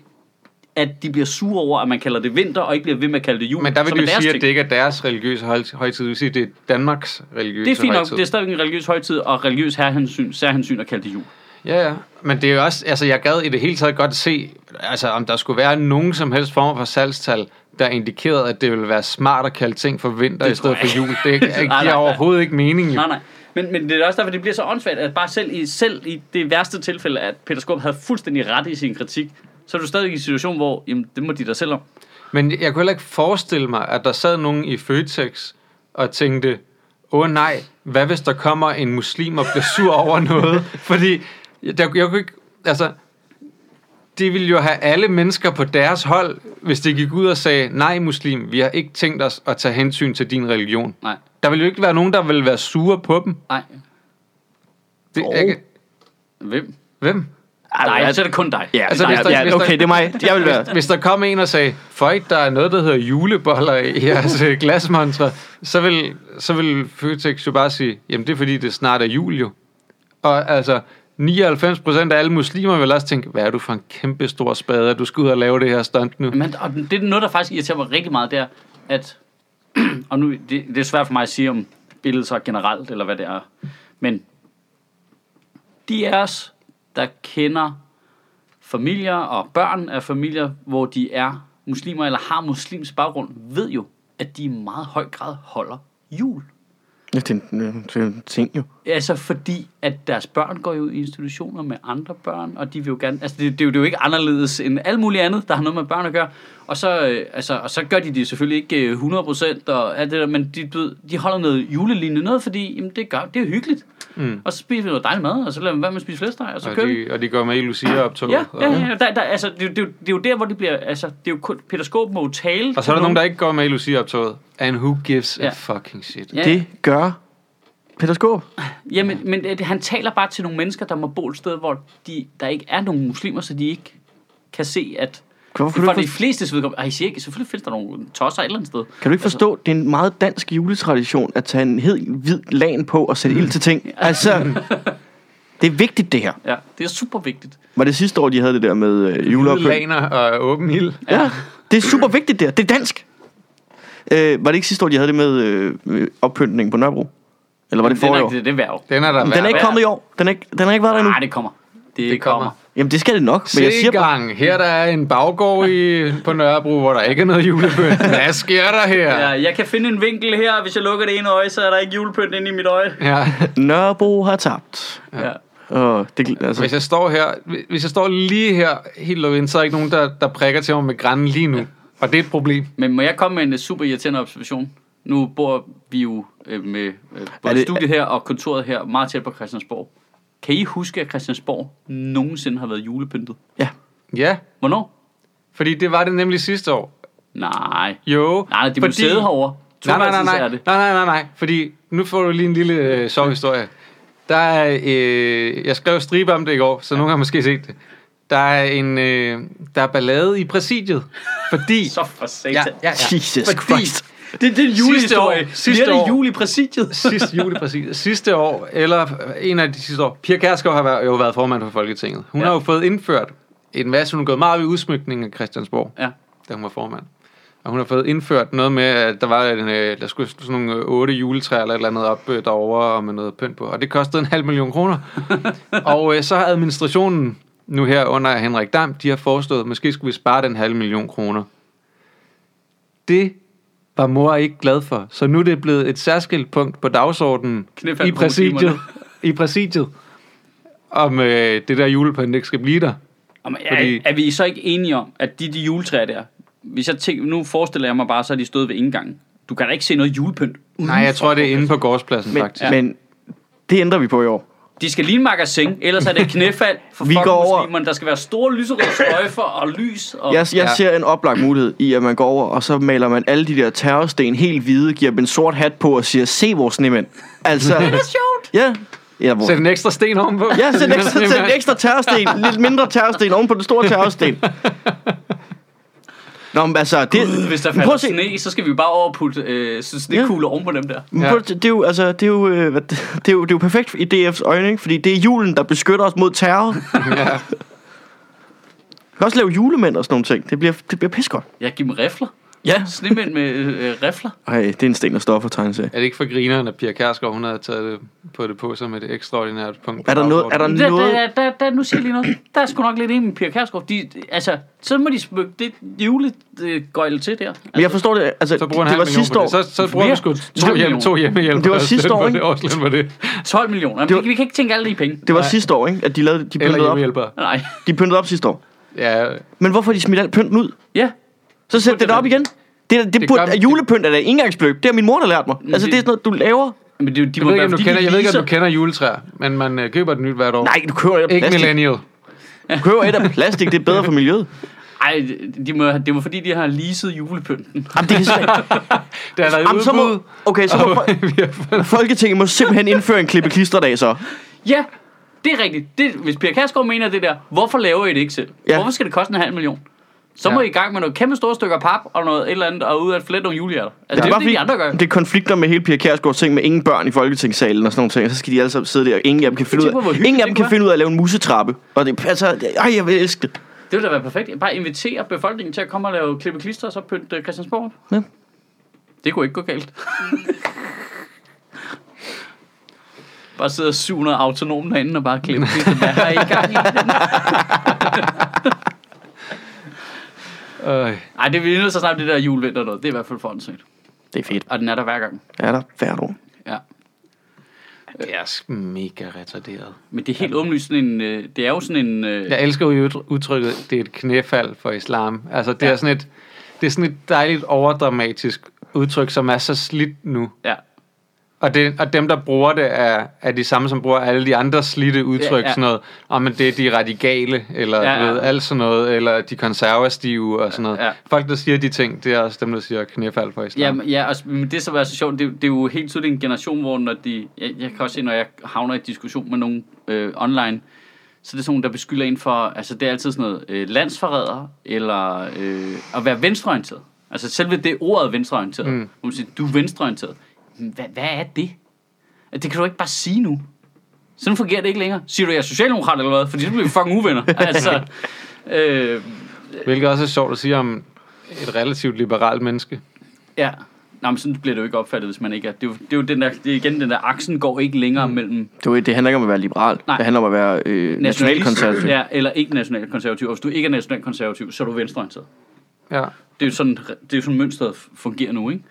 Speaker 2: at de bliver sure over, at man kalder det vinter, og ikke bliver ved med at kalde det jul.
Speaker 3: Men der vil
Speaker 2: som
Speaker 3: de
Speaker 2: er
Speaker 3: jo sige,
Speaker 2: deres
Speaker 3: at
Speaker 2: ting.
Speaker 3: det ikke er deres religiøse høj- højtid. Det vil sige, at det er Danmarks religiøse
Speaker 2: det er fint nok,
Speaker 3: højtid.
Speaker 2: det er stadigvæk en religiøs højtid, og religiøs herhensyn, særhensyn at kalde det jul.
Speaker 3: Ja, ja. Men det er jo også, altså jeg gad i det hele taget godt se, altså om der skulle være nogen som helst form for salgstal, der indikerede, at det ville være smart at kalde ting for vinter
Speaker 2: Det
Speaker 3: i stedet
Speaker 2: tror jeg
Speaker 3: for jul. Det ikke-
Speaker 2: Nej,
Speaker 3: giver
Speaker 2: nej, nej.
Speaker 3: overhovedet ikke mening. Jo.
Speaker 2: Nej, nej. Men, men det er også derfor, det bliver så åndssvagt, at bare selv i, selv i det værste tilfælde, at Peter Skub havde fuldstændig ret i sin kritik, så er du stadig i en situation, hvor jamen, det må de da selv om.
Speaker 3: Men jeg kunne heller ikke forestille mig, at der sad nogen i Føtex og tænkte, åh nej, hvad hvis der kommer en muslim og bliver sur over noget? Fordi der, jeg kunne ikke, altså, de ville jo have alle mennesker på deres hold, hvis de gik ud og sagde, nej muslim, vi har ikke tænkt os at tage hensyn til din religion.
Speaker 2: Nej,
Speaker 3: Der ville jo ikke være nogen, der ville være sure på dem.
Speaker 2: nej.
Speaker 3: Det,
Speaker 1: Jo.
Speaker 3: jeg, kan-
Speaker 2: Hvem?
Speaker 3: hvem?
Speaker 2: Nej, så er det kun dig.
Speaker 1: Ja,
Speaker 3: Altså,
Speaker 1: altså,
Speaker 3: hvis
Speaker 1: nej,
Speaker 3: der- hvis
Speaker 1: ja,
Speaker 3: der-
Speaker 1: okay, det er mig. Jeg vil være...
Speaker 3: Hvis der kom en og sagde, folk, der er noget, der hedder juleboller i jeres øh, glasmontre, så vil, så vil Føtex jo bare sige, jamen det er fordi, det snart er jul jo. Og altså, 99% af alle muslimer vil også tænke, hvad er du for en kæmpe stor spader, du skal ud og lave det her stunt nu.
Speaker 2: Men og det er noget, der faktisk irriterer mig rigtig meget, det er, at... Og nu, det, det er svært for mig at sige om billedet så generelt, eller hvad det er. Men de af os, der kender familier og børn af familier, hvor de er muslimer eller har muslims baggrund, ved jo, at de i meget høj grad holder jul.
Speaker 1: Ja, det er en- øh, det er en ting jo.
Speaker 2: Altså fordi, at deres børn går jo i institutioner med andre børn, og de vil jo gerne... Altså det, det, er jo, det er jo ikke anderledes end alt muligt andet, der har noget med børn at gøre. Og så, øh, altså, og så gør de det selvfølgelig ikke øh, 100% og alt det der, men de, du ved, de holder noget julelignende noget, fordi jamen, det, gør, det er hyggeligt. Mm. Og så spiser vi noget dejlig mad, og så lader man være med at spise flæskesteg, og så
Speaker 3: Og
Speaker 2: kører vi.
Speaker 3: de, og de går med i Lucia-optoget.
Speaker 2: Ja,
Speaker 3: og,
Speaker 2: ja, ja, ja. Der, der, altså, det, er jo- det, er jo- det, er jo der, hvor det bliver... Altså, det er jo kun, Peter Skåb må jo tale
Speaker 3: og så er der nogen, der ikke går med i Lucia-optoget. And who gives a
Speaker 2: Ja.
Speaker 3: fucking shit?
Speaker 2: Ja,
Speaker 1: Det gør Peter Skåb.
Speaker 2: Jamen, men øh, det- han taler bare til nogle mennesker, der må bo et sted, hvor de, der ikke er nogen muslimer, så de ikke kan se, at...
Speaker 1: Hvorfor kan du
Speaker 2: for
Speaker 1: ikke
Speaker 2: de fleste vedkommende... Ej, I siger ikke, selvfølgelig findes der nogle tosser et eller andet sted.
Speaker 1: Kan du ikke forstå, det er en meget dansk juletradition at tage en helt hvid lagen på og sætte ild til ting? Altså, det er vigtigt det her.
Speaker 2: Ja, det er super vigtigt.
Speaker 1: Var det sidste år, de havde det der med øh, juleopfølgning?
Speaker 3: Laner og åben ild.
Speaker 1: Ja, det er super vigtigt det her. Det er dansk. Øh, var det ikke sidste år, de havde det med øh, øh, oppyntning på Nørrebro? Eller var det
Speaker 2: det er
Speaker 1: forrige
Speaker 2: nok
Speaker 1: år?
Speaker 2: det, det er hver år.
Speaker 3: Den er der
Speaker 1: Den er ikke
Speaker 2: Hvad?
Speaker 1: kommet i år. Den er ikke, den er ikke været der endnu.
Speaker 2: Nej, det kommer. Det,
Speaker 3: Det kommer.
Speaker 2: kommer.
Speaker 1: Jamen, det skal det nok. Men jeg
Speaker 3: Se
Speaker 1: siger
Speaker 3: i
Speaker 1: bare,
Speaker 3: gang. Her der er en baggård i, på Nørrebro, hvor der ikke er noget julebøn. Hvad sker der her?
Speaker 2: Ja,
Speaker 3: Ja.
Speaker 2: jeg kan finde en vinkel her. Hvis jeg lukker det ene øje, så er der ikke julepynt inde i mit øje.
Speaker 3: ja.
Speaker 1: Nørrebro har tabt.
Speaker 2: Ja.
Speaker 1: Og det, gl- altså,
Speaker 3: Hvis jeg står her, hvis jeg står lige her helt lukket ind, så er der ikke nogen, der, der prikker til mig med grænnen lige nu. Og det er et problem.
Speaker 2: Men må jeg komme med en øh, super irriterende observation? Nu bor vi jo øh, med øh,
Speaker 1: Er
Speaker 2: både
Speaker 1: det-
Speaker 2: det, studiet her og kontoret her meget tæt på Christiansborg. Kan I huske, at Christiansborg nogensinde har været julepyntet?
Speaker 1: ja.
Speaker 3: Ja,
Speaker 2: Hvornår?
Speaker 3: fordi det var det nemlig sidste år.
Speaker 2: Nej.
Speaker 3: Jo,
Speaker 2: Nej, det er
Speaker 3: fordi...
Speaker 2: museet herovre.
Speaker 3: Nej, nej, nej, nej,
Speaker 2: Er
Speaker 3: nej,
Speaker 2: det.
Speaker 3: nej, nej, nej, fordi nu får du lige en lille øh, sjov historie. Der er, øh, jeg skrev stribe om det i går, så nogen har måske set det. Der er en, øh, der er ballade i præsidiet, fordi...
Speaker 2: Så for satan. Ja, ja.
Speaker 1: Jesus
Speaker 3: fordi
Speaker 1: Christ.
Speaker 2: Det, det er en
Speaker 3: Sidste år.
Speaker 2: julehistorie.
Speaker 3: Sidste
Speaker 2: Sidste det er
Speaker 3: år.
Speaker 2: det jul i præsidiet.
Speaker 3: sidste juli præcis. Sidste år, eller en af de sidste år, Pia Kærsgaard har været- jo været formand for Folketinget. Hun ja.
Speaker 2: Ja.
Speaker 3: har jo fået indført en masse, hun har gået meget op i udsmykningen af Christiansborg,
Speaker 2: Ja.
Speaker 3: da hun var formand. Og hun har fået indført noget med, at der var en, øh, der skulle sådan nogle øh, otte juletræer eller et eller andet op øh, derovre og med noget pynt på. Og det kostede en halv million kroner. og øh, så har administrationen nu her under Henrik Dam, de har foreslået, at måske skulle vi spare den halv million kroner. Det var mor ikke glad for. Så nu er det blevet et særskilt punkt på dagsordenen
Speaker 2: Knæfald
Speaker 3: i
Speaker 2: på
Speaker 3: præsidiet,
Speaker 2: muslimerne.
Speaker 3: i præsidiet, om øh, det der julepynt ikke skal blive der.
Speaker 2: Jamen,
Speaker 3: Fordi-
Speaker 2: er, er vi så ikke enige om, at de, de juletræer der, hvis jeg tænker, nu forestiller jeg mig bare, så er de stået ved indgangen. Du kan da ikke se noget julepynt.
Speaker 3: Nej, jeg tror, det er inde på gårdspladsen,
Speaker 1: Men,
Speaker 3: faktisk.
Speaker 1: ja. men det ændrer vi på i år.
Speaker 2: De skal ligne magasin, ellers er det et knæfald for
Speaker 1: Vi
Speaker 2: fucking
Speaker 1: går over.
Speaker 2: muslimerne. Der skal være store lyserøde sløjfer og lys. Og...
Speaker 1: Jeg, jeg
Speaker 3: Ja.
Speaker 1: ja. ser en oplagt mulighed i, at man går over, og så maler man alle de der terrorsten helt hvide, giver dem en sort hat på og siger, se vores snemænd. Altså,
Speaker 2: Det er sjovt.
Speaker 1: ja. ja hvor,
Speaker 3: Sæt en ekstra sten ovenpå.
Speaker 1: ja, sæt en ekstra,
Speaker 3: Sådan en
Speaker 1: sæt en
Speaker 3: mand.
Speaker 1: ekstra terrorsten, lidt mindre terrorsten oven på den store terrorsten. Nå, men altså, det,
Speaker 2: Gud, hvis der
Speaker 1: Men prøv
Speaker 2: falder
Speaker 1: at se.
Speaker 2: sne, så skal vi jo bare over og putte øh, sådan snekugler oven på dem der.
Speaker 1: Men
Speaker 3: Ja.
Speaker 1: prøv at- Det er jo, altså, det er jo, øh, hvad- det er jo, det er jo perfekt i DF's øjne, ikke? fordi det er julen, der beskytter os mod terror. ja. Vi kan også lave julemænd og sådan nogle ting. Det bliver, det bliver pissegodt.
Speaker 2: Jeg giver dem rifler.
Speaker 1: Ja.
Speaker 2: Snemænd med øh, øh, rifler.
Speaker 1: Ej, det er en sten og stoffer tegnelse.
Speaker 3: Er det ikke for grineren, at Pia Kærsgaard, hun havde taget det på det på som et ekstraordinært punkt? på
Speaker 1: Er der noget, er der
Speaker 3: dagsordenen?
Speaker 2: Der, der,
Speaker 1: noget,
Speaker 2: der, der, nu siger jeg lige noget. Der er sgu nok lidt enig med Pia Kærsgaard. De, altså, så må de smykke det julegøjle til der. Altså,
Speaker 1: men jeg forstår det, altså,
Speaker 3: Så bruger han
Speaker 1: det var sidste år,
Speaker 3: Så, så bruger
Speaker 2: Mere?
Speaker 3: vi sgu
Speaker 2: To
Speaker 3: to, hjem,
Speaker 2: millioner.
Speaker 3: to hjemmehjælp.
Speaker 1: Det var sidste år,
Speaker 3: ikke?
Speaker 1: ikke?
Speaker 3: Årsløn var det.
Speaker 2: 12 Altså, millioner. Jamen,
Speaker 1: Det
Speaker 2: det
Speaker 1: var-
Speaker 2: vi, vi kan ikke tænke alle de penge.
Speaker 1: det var
Speaker 3: Nej.
Speaker 1: sidste år, ikke? At de, lavede, de
Speaker 3: Eller
Speaker 1: pyntede op.
Speaker 3: hjemmehjælpere.
Speaker 2: Nej.
Speaker 1: De pyntede op sidste år.
Speaker 3: Ja,
Speaker 1: Men hvorfor har de smidt alt pynten ud?
Speaker 2: Ja.
Speaker 1: Så sæt det
Speaker 2: det
Speaker 1: op igen. Det, det, det
Speaker 3: Det
Speaker 1: burde,
Speaker 3: gør-
Speaker 1: at julepynt er da engangsløb. Det har min mor, der lært mig. Altså,
Speaker 2: det-
Speaker 1: det er sådan noget, du laver.
Speaker 2: Men det, de
Speaker 3: jeg
Speaker 2: må
Speaker 3: ved, ikke,
Speaker 2: være,
Speaker 3: om du
Speaker 2: fordi
Speaker 3: kender,
Speaker 2: de
Speaker 3: jeg ved ikke, om du
Speaker 2: leaser-
Speaker 3: kender juletræer, men man øh, køber det nyt hvert år.
Speaker 1: Nej, du køber et af
Speaker 3: Ikke
Speaker 1: plastik.
Speaker 3: millennial.
Speaker 1: Du køber et af plastik, det er bedre for miljøet.
Speaker 2: Ej, de må, det var fordi, de har leaset julepynten.
Speaker 1: Jamen, det kan slet
Speaker 3: Der er der
Speaker 1: Jamen, så
Speaker 3: udbud.
Speaker 1: må, okay, så må fol- Folketinget må simpelthen indføre en klippe klisterdag så.
Speaker 2: Ja, det er rigtigt. Det, hvis Pia Kærsgaard mener det der, hvorfor laver I det ikke selv?
Speaker 1: Ja.
Speaker 2: Ja. Hvorfor skal det koste en halv million? Så må
Speaker 3: Ja.
Speaker 2: I i gang med noget kæmpe store stykker pap og noget et eller andet, og ud af et flet nogle julehjerter. Altså, det er jo det, de andre gør.
Speaker 1: det konflikter med hele Pia Kjærsgaard ting med ingen børn i Folketingssalen og sådan nogle ting. Og Så skal de alle sammen sidde der, og ingen af dem kan finde ud
Speaker 2: Tænk på, hvor
Speaker 1: af,
Speaker 2: hyggeligt
Speaker 1: ingen af dem
Speaker 2: det
Speaker 1: kan
Speaker 2: var.
Speaker 1: finde ud af at lave en musetrappe. Og det, altså, det- ej, jeg vil elske det.
Speaker 2: Det ville da være perfekt. Bare invitere befolkningen til at komme og lave klippe klister, og så pynte øh, Christiansborg. op.
Speaker 1: Ja.
Speaker 2: Det kunne ikke gå galt. bare sidder 700 autonomen herinde og bare klippe klister. Hvad har I gang i?
Speaker 3: Øh,
Speaker 2: Ej, det er vi nødt til at snakke om det der julevinter noget. Det er i hvert fald for åndssvagt.
Speaker 1: Det er fedt.
Speaker 2: Og den er der hver gang.
Speaker 1: Er der hvert år.
Speaker 2: Ja.
Speaker 3: det er sgu mega retarderet.
Speaker 2: Men det er helt åbenlyst sådan en... Øh, det er jo sådan en... Øh,
Speaker 3: Jeg elsker jo ud- udtrykket, det er et knæfald for islam. Altså, det, ja. er sådan et, det er sådan et dejligt overdramatisk udtryk, som er så slidt nu.
Speaker 2: ja.
Speaker 3: Og, det, og dem, der bruger det, er, er de samme, som bruger alle de andre slidte udtryk. Ja,
Speaker 2: Ja,
Speaker 3: ja.
Speaker 2: ja.
Speaker 3: Sådan noget, om det er de radikale, eller ja,
Speaker 2: Ja,
Speaker 3: ja.
Speaker 2: ja.
Speaker 3: Ved, alt sådan noget, eller de konservative og sådan noget. Ja,
Speaker 2: Ja,
Speaker 3: ja.
Speaker 2: ja.
Speaker 3: Folk, der siger de ting, det er også dem, der siger knæfald for islam.
Speaker 2: Jamen, ja, og, s- men det så var så sjovt, det, det er jo helt tydeligt en generation, hvor når de, jeg, jeg kan også se, når jeg havner i diskussion med nogen øh, online, så det er sådan nogen, der beskylder en for, altså det er altid sådan noget øh, landsforræder, eller øh, at være venstreorienteret. Altså selve det ordet venstreorienteret, mm. hvor man siger, du er venstreorienteret. Men Hvad, hvad er det? Altså, Det kan du ikke bare sige nu. Sådan fungerer det ikke længere. Siger du, jeg er socialdemokrat eller hvad? Fordi så bliver vi fucking uvenner. altså, øh,
Speaker 3: Hvilket også er sjovt at sige om et relativt liberalt menneske.
Speaker 2: Ja. Nå, men sådan bliver det jo ikke opfattet, hvis man ikke er. Det er jo, det er jo den der, det er igen den der, aksen går ikke længere mm. mellem
Speaker 1: Det, er jo ikke- det handler ikke om at være liberal.
Speaker 2: Nej.
Speaker 1: Det handler om at være øh,
Speaker 2: nationalist-
Speaker 1: nationalkonservativ.
Speaker 2: Ja, eller ikke nationalkonservativ. Og hvis du ikke er nationalkonservativ, så er du venstreorienteret.
Speaker 3: Ja.
Speaker 2: Det er jo sådan, det er jo sådan mønstret fungerer nu, ikke?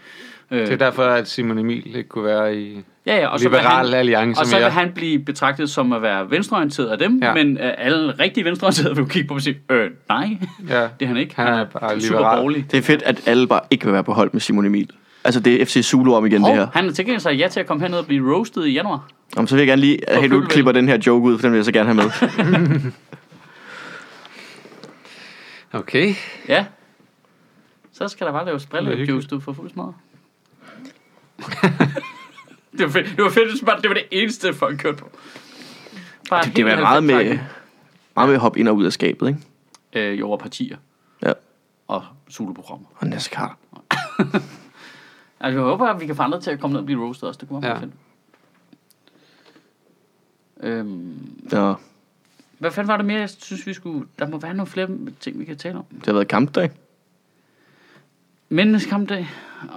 Speaker 2: Øh,
Speaker 3: Det er derfor, at Simon Emil ikke kunne være i
Speaker 2: ja, ja, og så vil
Speaker 3: Liberal
Speaker 2: han,
Speaker 3: Alliance
Speaker 2: Og så vil
Speaker 3: mere.
Speaker 2: han blive betragtet som at være venstreorienteret af dem,
Speaker 3: Ja.
Speaker 2: ja. men øh, alle rigtige venstreorienterede vil jo kigge på ham og sige, øh, nej,
Speaker 3: Ja.
Speaker 2: det er han ikke.
Speaker 3: Han er bare
Speaker 2: super
Speaker 3: liberal.
Speaker 2: borgerlig.
Speaker 1: Det er fedt, at alle bare ikke vil være på hold med Simon Emil. Altså, det er FC Zulu om igen, det her.
Speaker 2: Og han har tilkendt sig ja til at komme herned og blive roasted i januar.
Speaker 1: Om, så vil jeg gerne lige have, at du
Speaker 2: Pølvælden.
Speaker 1: klipper den her joke ud, for den vil jeg så gerne have med.
Speaker 3: Okay.
Speaker 2: Ja. Så skal der bare laves
Speaker 3: hyggeligt.
Speaker 2: brillejuice, du får fuld smadret. det var fedt, det var, fedt, hvis man- det, var det eneste, folk kørte på. Bare
Speaker 1: Det var meget med, meget med at hoppe ind og ud af skabet, ikke?
Speaker 2: Øh, jo, og partier
Speaker 1: Ja.
Speaker 2: og soloprogrammer.
Speaker 1: Og NASCAR.
Speaker 2: Altså, jeg håber, at vi kan få andre til at komme ned og blive roasted også. Det kunne være
Speaker 3: Ja.
Speaker 2: ja. fedt. Øhm,
Speaker 1: Ja.
Speaker 2: hvad fanden var det mere, jeg synes, vi skulle... Der må være nogle flere ting, vi kan tale om.
Speaker 1: Det har været kampdag.
Speaker 2: Mændenes kampdag?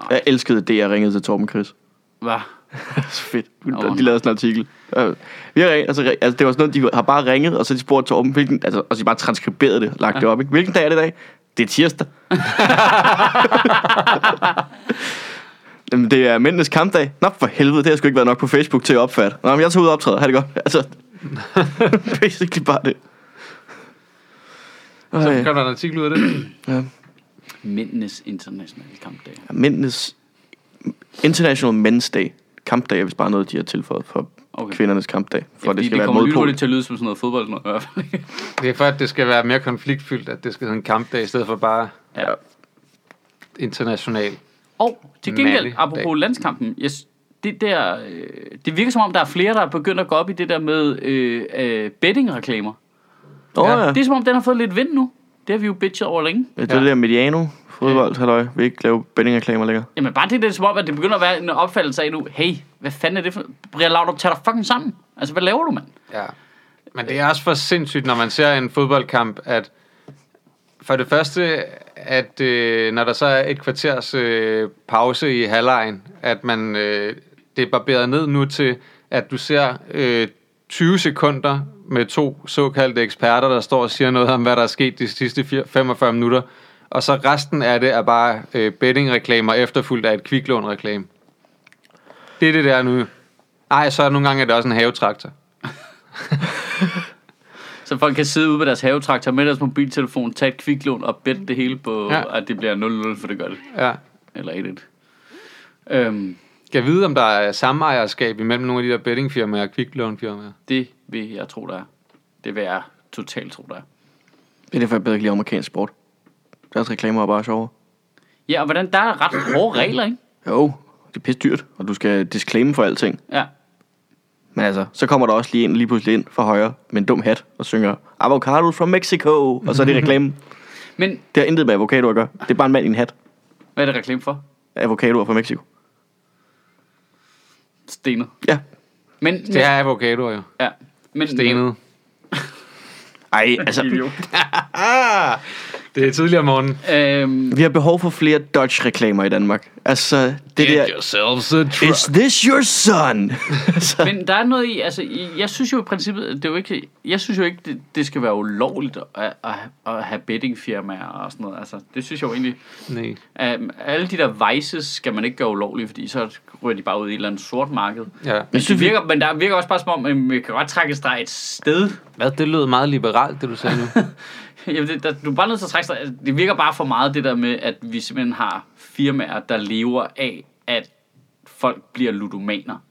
Speaker 1: Jeg elskede det, jeg ringede til Torben Chris.
Speaker 2: Hvad?
Speaker 1: så fedt.
Speaker 2: Nå.
Speaker 1: De lavede sådan en artikel. Øh, Vi har ringet, altså, ri- altså, det var sådan noget, de har bare ringet, og så har de spurgte Torben, hvilken, altså, og så de bare transkriberet det og lagt det op. Ikke? Hvilken dag er det i dag? Det er tirsdag. Jamen, det er mændenes kampdag. Nå, for helvede, det har sgu ikke været nok på Facebook til at opfatte. Nå, men jeg tager ud og optræder. Ha' det godt. Altså, basically bare det.
Speaker 3: Så
Speaker 1: Ej,
Speaker 3: kom der en artikel ud af det.
Speaker 1: ja.
Speaker 2: Mændenes internationale kampdag.
Speaker 1: Mændenes International Men's Day. Kampdag er vist bare noget, de har tilføjet for
Speaker 2: Okay.
Speaker 1: okay. kvindernes kampdag. For ja, det
Speaker 2: fordi
Speaker 1: skal være et
Speaker 2: kommer
Speaker 1: modpol.
Speaker 2: lynhurtigt til at lyde som sådan noget fodbold. Noget, i hvert fald.
Speaker 3: Det er for, at det skal være mere konfliktfyldt, at det skal hedde en kampdag, i stedet for bare
Speaker 2: ja.
Speaker 3: international.
Speaker 2: Og til gengæld,
Speaker 3: Mærkelig
Speaker 2: apropos
Speaker 3: dag.
Speaker 2: landskampen, yes, det, der, øh, det virker som om, der er flere, der er begyndt at gå op i det der med øh, øh, bettingreklamer.
Speaker 1: Åh
Speaker 3: Ja,
Speaker 1: ja,
Speaker 2: Det er som om, den har fået lidt vind nu. Det har vi jo bitchet over længe.
Speaker 1: det er
Speaker 3: ja.
Speaker 1: det der Mediano fodbold, halløj. Vi ikke lave bettingreklamer længere.
Speaker 2: Jamen bare det, det er som om, at det begynder at være en opfattelse af nu, hey, hvad fanden er det for... Brian Laudrup, tag dig fucking sammen. Altså, hvad laver du, mand?
Speaker 3: Ja. Men det er også for sindssygt, når man ser en fodboldkamp, at for det første, at øh, når der så er et kvarters øh, pause i halvlejen, at man øh, det er barberet ned nu til, at du ser øh, 20 sekunder med to såkaldte eksperter, der står og siger noget om, hvad der er sket de sidste fir- 45 minutter, og så resten af det er bare øh, bettingreklamer efterfulgt af et kviklånreklame. Det er det, der nu. Ej, så er nogle gange er det også en havetraktor.
Speaker 2: Så folk kan sidde ude på deres havetraktor med deres mobiltelefon, tage et kviklån og bette det hele på, ja.
Speaker 3: Ja.
Speaker 2: at det bliver 0-0, for det gør det.
Speaker 3: Ja.
Speaker 2: Eller 1-1. Øhm,
Speaker 3: Skal jeg vide, om der er samejerskab imellem nogle af de der bettingfirmaer og kviklånfirmaer?
Speaker 2: det vil jeg tro, der er. Det vil jeg totalt tro, der er.
Speaker 1: Det er derfor, jeg bedre kan lide amerikansk sport. Deres reklamer er bare sjovere.
Speaker 2: Ja, og hvordan, der er ret hårde regler, ikke?
Speaker 1: Jo, det er pisse dyrt, og du skal disclaime for alting.
Speaker 2: Ja.
Speaker 1: Men altså, så kommer der også lige en lige pludselig ind fra højre med en dum hat og synger Avocado from Mexico, og så er det reklamen.
Speaker 2: Men
Speaker 1: Det har intet med avocado at gøre. Det er bare en mand i en hat.
Speaker 2: hvad er det reklame for?
Speaker 1: Avocadoer fra Mexico.
Speaker 2: Stenet.
Speaker 1: Ja.
Speaker 2: Men,
Speaker 3: Det er avocadoer jo.
Speaker 2: ja. Men,
Speaker 3: Stenet.
Speaker 1: Ej, altså,
Speaker 3: Ah, det er tidligere om morgenen.
Speaker 2: Øhm,
Speaker 1: vi har behov for flere Dodge-reklamer i Danmark. Altså, det der...
Speaker 3: yourselves a
Speaker 1: Is this your son? så,
Speaker 2: men der er noget i, altså, i- jeg synes jo i princippet, det er jo ikke, jeg synes jo ikke, det, det skal være ulovligt at, at, at have bettingfirmaer og sådan noget. Altså, det synes jeg jo egentlig,
Speaker 3: Nej.
Speaker 2: um, alle de der vices skal man ikke gøre ulovlige, fordi så ryger de bare ud i et eller andet sort marked.
Speaker 3: Ja.
Speaker 2: Men, det virker, men der virker også bare som om, at man kan godt trække en streg et sted.
Speaker 3: Hvad, det lød meget liberalt, det du sagde nu.
Speaker 2: Jamen, det, der, du er bare nødt til at trække streg. Altså, Det virker bare for meget det der med, at vi simpelthen har firmaer, der lever af, at folk bliver ludomaner.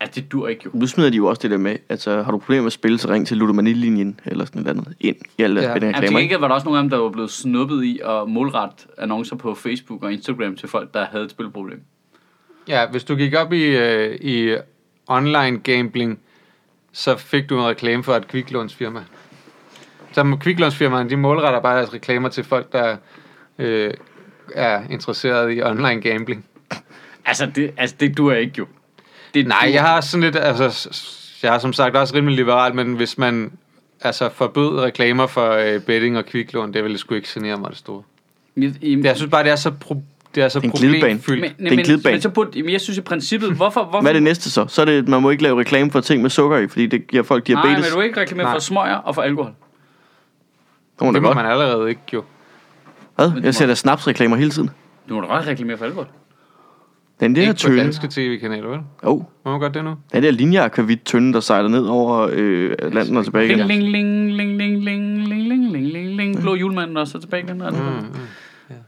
Speaker 2: At det dur ikke jo.
Speaker 1: nu smider de jo også det der med, altså har du problemer med at spille, så ring til ludomanilinjen eller sådan et eller andet ind i alle deres
Speaker 3: Ja.
Speaker 1: ja.
Speaker 2: Jamen, til
Speaker 1: reklamer. ikke?
Speaker 2: gengæld var der også nogle af dem, der var blevet snuppet i at målrette annoncer på Facebook og Instagram til folk, der havde et spilproblem.
Speaker 3: Ja, hvis du gik op i, øh, i online gambling, så fik du en reklame for et kviklånsfirma. Så kviklånsfirmaerne, de målretter bare deres reklamer til folk, der øh, er interesseret i online gambling.
Speaker 2: Altså, det, altså, det dur ikke jo. Det
Speaker 3: Nej,
Speaker 2: duer-
Speaker 3: jeg har sådan lidt, altså, s- s- jeg har som sagt også rimelig liberal, men hvis man altså forbød reklamer for øh, betting og kviklån, det ville sgu ikke genere mig det store.
Speaker 2: Mit- i-
Speaker 3: Det, jeg synes bare, det er så, pro, det er så
Speaker 1: Det er en glidebane.
Speaker 3: problemfyldt.
Speaker 2: Men,
Speaker 1: er en
Speaker 2: men,
Speaker 1: glidebane.
Speaker 2: men, så burde, jamen, jeg synes i princippet, hvorfor... hvorfor
Speaker 1: Hvad er det næste så? Så er det, at man må ikke lave reklame for ting med sukker i, fordi det giver folk diabetes.
Speaker 2: Nej, men du ikke reklamere
Speaker 3: Nej.
Speaker 2: for smøger og for alkohol.
Speaker 1: Nå, det
Speaker 3: det må
Speaker 1: godt.
Speaker 3: man allerede ikke jo.
Speaker 1: Hvad? Jeg ser da snapsreklamer hele tiden.
Speaker 2: Du må da godt reklamere for alkohol.
Speaker 1: Den der
Speaker 3: ikke på
Speaker 1: tønde.
Speaker 3: danske tv-kanaler, vel?
Speaker 1: Oh,
Speaker 3: Må man godt det nu?
Speaker 1: den der linjeakvavit tønde, der sejler ned over øh, landen og tilbage
Speaker 2: Ling,
Speaker 1: igen.
Speaker 2: ling, ling, ling, ling, ling, ling, ling, ling, ling, ling.
Speaker 3: Mm.
Speaker 2: Blå julemanden og så tilbage igen. og alt det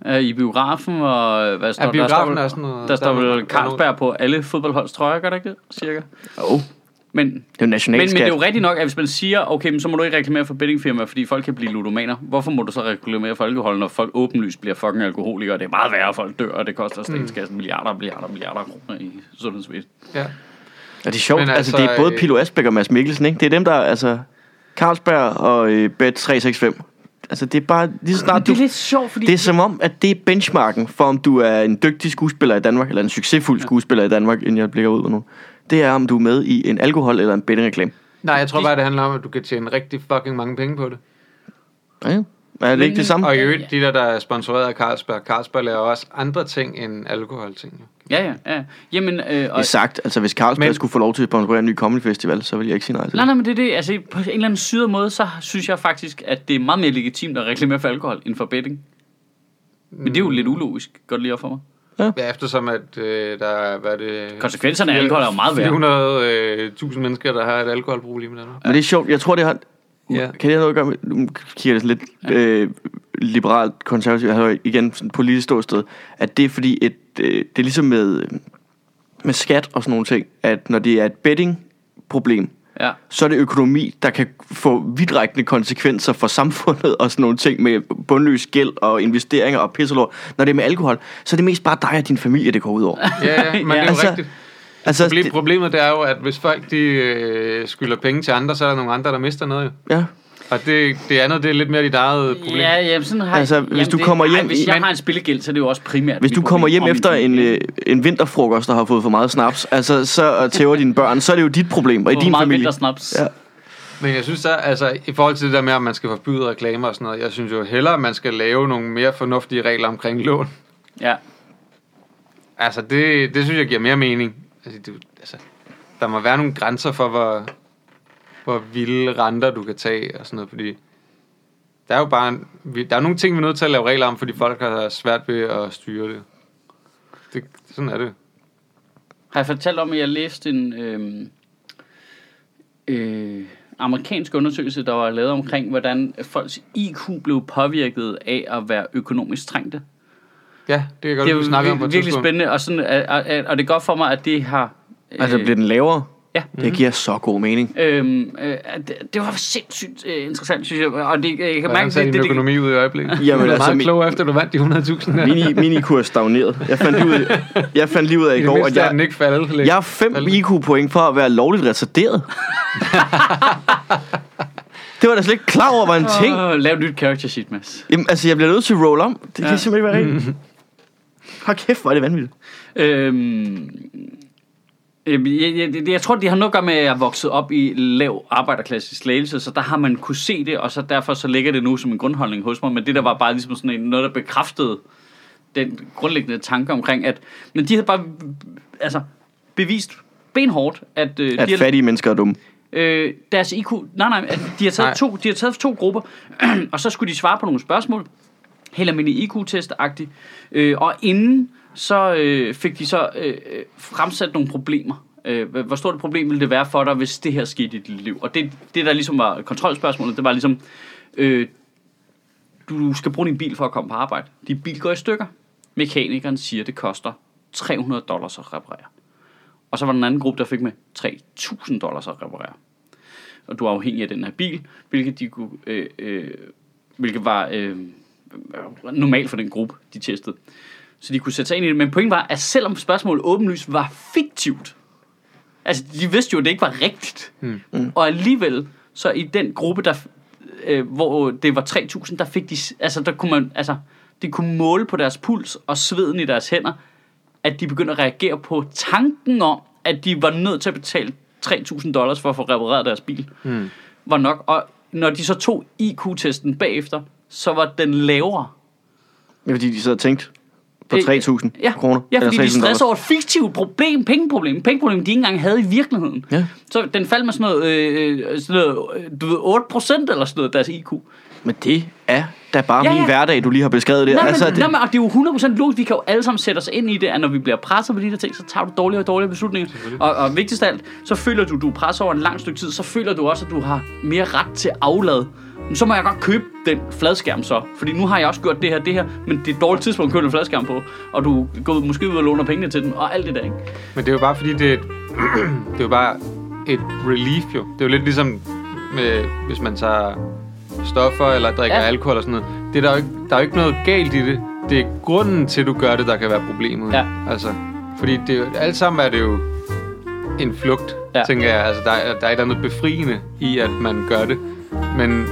Speaker 2: der. Øh, I biografen og... øh, Hvad står, der? der?
Speaker 3: biografen
Speaker 2: står,
Speaker 3: er sådan noget-
Speaker 2: Der står
Speaker 3: der er
Speaker 2: vel
Speaker 3: noget-
Speaker 2: Carlsberg på alle fodboldholds trøjer, gør det ikke det? Cirka.
Speaker 1: Oh,
Speaker 2: Men
Speaker 1: det er jo
Speaker 2: men, men det er jo
Speaker 1: nationalskat.
Speaker 2: rigtigt nok, at hvis man siger, okay, men så må du ikke reklamere for bettingfirmaer, fordi folk kan blive ludomaner. Hvorfor må du så reklamere for alkohol, når folk åbenlyst bliver fucking alkoholikere? Det er meget værre, at folk dør, og det
Speaker 3: Mm.
Speaker 2: koster statskassen milliarder og milliarder og milliarder af kroner i sundhedsvæsenet.
Speaker 3: Ja.
Speaker 1: Og det er sjovt,
Speaker 3: Men
Speaker 1: altså,
Speaker 3: altså,
Speaker 1: det er både
Speaker 3: øh,
Speaker 1: Pilo Asbæk og Mads Mikkelsen, ikke? Det er dem, der altså... Carlsberg og øh, Bet365. Altså, det er bare lige så snart
Speaker 2: Det er
Speaker 1: du...
Speaker 2: lidt sjovt, fordi...
Speaker 1: Det er som om, at det er benchmarken for, om du er en dygtig skuespiller i Danmark, eller en succesfuld skuespiller i Danmark, inden jeg blikker ud med nu. Det er, om du er med i en alkohol- eller en bettingreklame.
Speaker 3: Nej, jeg tror bare, det handler om, at du kan tjene rigtig fucking mange penge på det.
Speaker 1: Ja, ja. Er det ikke det samme?
Speaker 3: Og i øvrigt, de der, der er sponsoreret af Carlsberg, Carlsberg laver også andre ting end alkoholting. jo.
Speaker 2: Ja, ja, ja. Jamen, øh,
Speaker 1: Det er
Speaker 2: og,
Speaker 1: sagt. Altså, hvis Carlsberg
Speaker 3: Men-
Speaker 1: skulle få lov til at sponsorere en ny Comedy Festival, så ville jeg ikke sige nej til
Speaker 2: nej,
Speaker 1: det.
Speaker 2: nej, men det er det. Altså, på en eller anden syret måde, så synes jeg faktisk, at det er meget mere legitimt at reklamere for alkohol end for betting. Men det er jo
Speaker 1: Mm.
Speaker 2: lidt ulogisk, godt lige op for mig.
Speaker 3: Ja, eftersom at øh, der er, hvad er det...
Speaker 2: Konsekvenserne af alkohol er jo meget værre.
Speaker 3: 400.000 mennesker, der har et alkoholproblem i Danmark.
Speaker 1: Men det er sjovt. Jeg tror, det har...
Speaker 3: Ja.
Speaker 1: Kan det have noget at gøre med... Nu kigger jeg sådan lidt øh, liberalt, konservativt, jeg har igen sådan et politisk ståsted, at det er fordi, et, øh, det er ligesom med, øh, med skat og sådan nogle ting, at når det er et betting-problem,
Speaker 2: Ja.
Speaker 1: så er det økonomi, der kan få vidtrækkende konsekvenser for samfundet og sådan nogle ting med bundløs gæld og investeringer og pisselort. Når det er med alkohol, så er det mest bare dig og din familie, det går ud over.
Speaker 3: Ja, ja, men det er jo
Speaker 1: Altså,
Speaker 3: rigtigt.
Speaker 1: Altså,
Speaker 3: Proble-
Speaker 1: det,
Speaker 3: Problemet det er jo, at hvis folk de, øh, skylder penge til andre, så er der nogle andre, der mister noget. Jo.
Speaker 1: ja.
Speaker 3: Og det, det andet, det er lidt mere dit eget problem.
Speaker 2: Ja, jamen sådan har
Speaker 1: Altså, hvis
Speaker 2: jamen,
Speaker 1: du kommer
Speaker 2: ej,
Speaker 1: hjem
Speaker 2: hvis
Speaker 1: i-
Speaker 2: jeg
Speaker 1: men-
Speaker 2: har en spillegæld, så er det jo også primært
Speaker 1: Hvis
Speaker 2: mit
Speaker 1: du kommer
Speaker 2: problem
Speaker 1: hjem
Speaker 2: og min
Speaker 1: efter en,
Speaker 2: familie.
Speaker 1: øh, en vinterfrokost, der har fået for meget snaps, altså, så og tæver dine børn, så er det jo dit problem og i
Speaker 2: Hvor
Speaker 1: din
Speaker 2: meget
Speaker 1: familie.
Speaker 2: vintersnaps.
Speaker 1: Ja.
Speaker 3: Men jeg synes så, altså i forhold til det der med, at man skal forbyde reklamer og sådan noget, jeg synes jo hellere, at man skal lave nogle mere fornuftige regler omkring lån.
Speaker 2: Ja.
Speaker 3: Altså det, det synes jeg giver mere mening. Altså, det, altså, der må være nogle grænser for, hvor, hvor vilde renter du kan tage og sådan noget, fordi der er jo bare en, vi, der er nogle ting, vi er nødt til at lave regler om, fordi folk har svært ved at styre det. det sådan er det.
Speaker 2: Har jeg fortalt om, at jeg læste en øh, øh, amerikansk undersøgelse, der var lavet omkring, hvordan folks IQ blev påvirket af at være økonomisk trængte?
Speaker 3: Ja, det kan jeg
Speaker 2: Det er
Speaker 3: godt, vi snakker
Speaker 2: jo
Speaker 3: om på et
Speaker 2: virkelig
Speaker 3: tidspunkt.
Speaker 2: spændende, og, sådan, og, og, og det er godt for mig, at det har... øh,
Speaker 1: Altså, bliver den lavere?
Speaker 2: Ja.
Speaker 1: Det giver så god mening.
Speaker 2: Øhm, øh, at det, det var sindssygt øh, interessant, synes jeg. Og det, øh, jeg kan
Speaker 3: Hvordan
Speaker 2: mærke,
Speaker 3: ser
Speaker 2: det,
Speaker 3: din
Speaker 2: det, det,
Speaker 3: økonomi ud i øjeblikket?
Speaker 1: Jamen,
Speaker 3: du er
Speaker 1: altså,
Speaker 3: meget
Speaker 1: min-
Speaker 3: klog efter, du vandt de 100.000 her.
Speaker 1: Mini, minikurs stagneret. Jeg fandt lige ud, jeg fandt lige ud af i
Speaker 3: I det
Speaker 1: går, at
Speaker 3: mindste er
Speaker 1: jeg,
Speaker 3: den ikke faldet. Læk.
Speaker 1: Jeg er 5 IQ-point for at være lovligt retarderet. det var da slet ikke klar over, var en ting.
Speaker 2: Åh, lav et nyt character sheet, Mads.
Speaker 1: Jamen, altså, jeg bliver nødt til at roll om. Det kan
Speaker 2: Ja.
Speaker 1: simpelthen ikke være rigtigt. Hold kæft, hvor er det vanvittigt.
Speaker 2: Øhm, øhm, jeg, jeg, det- jeg tror, det har noget at gøre med, at jeg er vokset op i lav arbejderklasse i Slagelse, så der har man kunne se det, og så derfor så ligger det nu som en grundholdning hos mig, men det der var bare ligesom sådan en, noget, der bekræftede den grundlæggende tanke omkring, at men de havde bare altså, bevist benhårdt, at, øh,
Speaker 1: At
Speaker 2: de havde,
Speaker 1: fattige mennesker er dumme.
Speaker 2: øh, deres IQ, nej nej, at de har taget,
Speaker 3: Nej.
Speaker 2: to, de har taget to grupper, og så skulle de svare på nogle spørgsmål, helt almindelig IQ-test-agtigt, øh, og inden så øh, fik de så øh, øh, fremsat nogle problemer. Øh, hvor- hvor stort et problem ville det være for dig, hvis det her skete i dit liv? Og det, det der ligesom var kontrolspørgsmålet, det var ligesom, øh, du skal bruge din bil for at komme på arbejde. Din bil går i stykker. Mekanikeren siger, at det koster 300 dollars at reparere. Og så var der en anden gruppe, der fik med 3.000 dollars at reparere. Og du er afhængig af den her bil, hvilket, de kunne, øh, øh, hvilket var øh, normalt for den gruppe, de testede. Så de kunne sætte sig ind i det. Men pointen var, at selvom spørgsmålet åbenlyst var fiktivt, altså de vidste jo, at det ikke var rigtigt. Mm. Og alligevel, så i den gruppe, der, øh, hvor det var 3.000, der fik de, altså der kunne man, altså, de kunne måle på deres puls og sveden i deres hænder, at de begyndte at reagere på tanken om, at de var nødt til at betale 3.000 dollars for at få repareret deres bil,
Speaker 1: Hmm.
Speaker 2: mm. var nok. Og når de så tog IQ-testen bagefter, så var den lavere.
Speaker 1: Det er fordi, de sidder og tænkt på
Speaker 2: Øh,
Speaker 1: 3.000
Speaker 2: Ja,
Speaker 1: kroner.
Speaker 2: ja fordi de
Speaker 1: eller 3.000
Speaker 2: stresser
Speaker 1: dollars.
Speaker 2: over et fiktivt problem, pengeproblem, pengeproblem, de ikke engang havde i virkeligheden.
Speaker 1: Ja.
Speaker 2: Så den faldt med sådan noget, øh, øh, sådan noget øh, du ved, 8% eller sådan noget, deres IQ.
Speaker 1: Men det er da bare
Speaker 2: Ja,
Speaker 1: min
Speaker 2: ja.
Speaker 1: hverdag, du lige har beskrevet det.
Speaker 2: Nej, men,
Speaker 1: altså,
Speaker 2: det...
Speaker 1: det,
Speaker 2: Nej, men, og det er jo 100% logisk. Vi kan jo alle sammen sætte os ind i det, at når vi bliver presset på de der ting, så tager du dårligere og dårligere beslutninger. Og, og vigtigst af alt, så føler du, du er presset over en lang stykke tid, så føler du også, at du har mere ret til aflad. Men så må jeg godt købe den fladskærm så. Fordi nu har jeg også gjort det her, det her, men det er et dårligt tidspunkt at købe en fladskærm på. Og du går måske ud og låner pengene til den, og alt det der, ikke?
Speaker 3: Men det er jo bare fordi, det er, et, det er jo bare et relief jo. Det er jo lidt ligesom, med, hvis man tager stoffer eller drikker
Speaker 2: Ja.
Speaker 3: ja. alkohol eller sådan noget. Det er der, jo ikke, der er jo ikke noget galt i det. Det er grunden til, at du gør det, der kan være problemet.
Speaker 2: Ja.
Speaker 3: Altså, fordi det, er jo- alt sammen er det jo en flugt,
Speaker 2: Ja.
Speaker 3: ja. tænker jeg. Altså, der, er- der er et eller andet befriende i, at man gør det. Men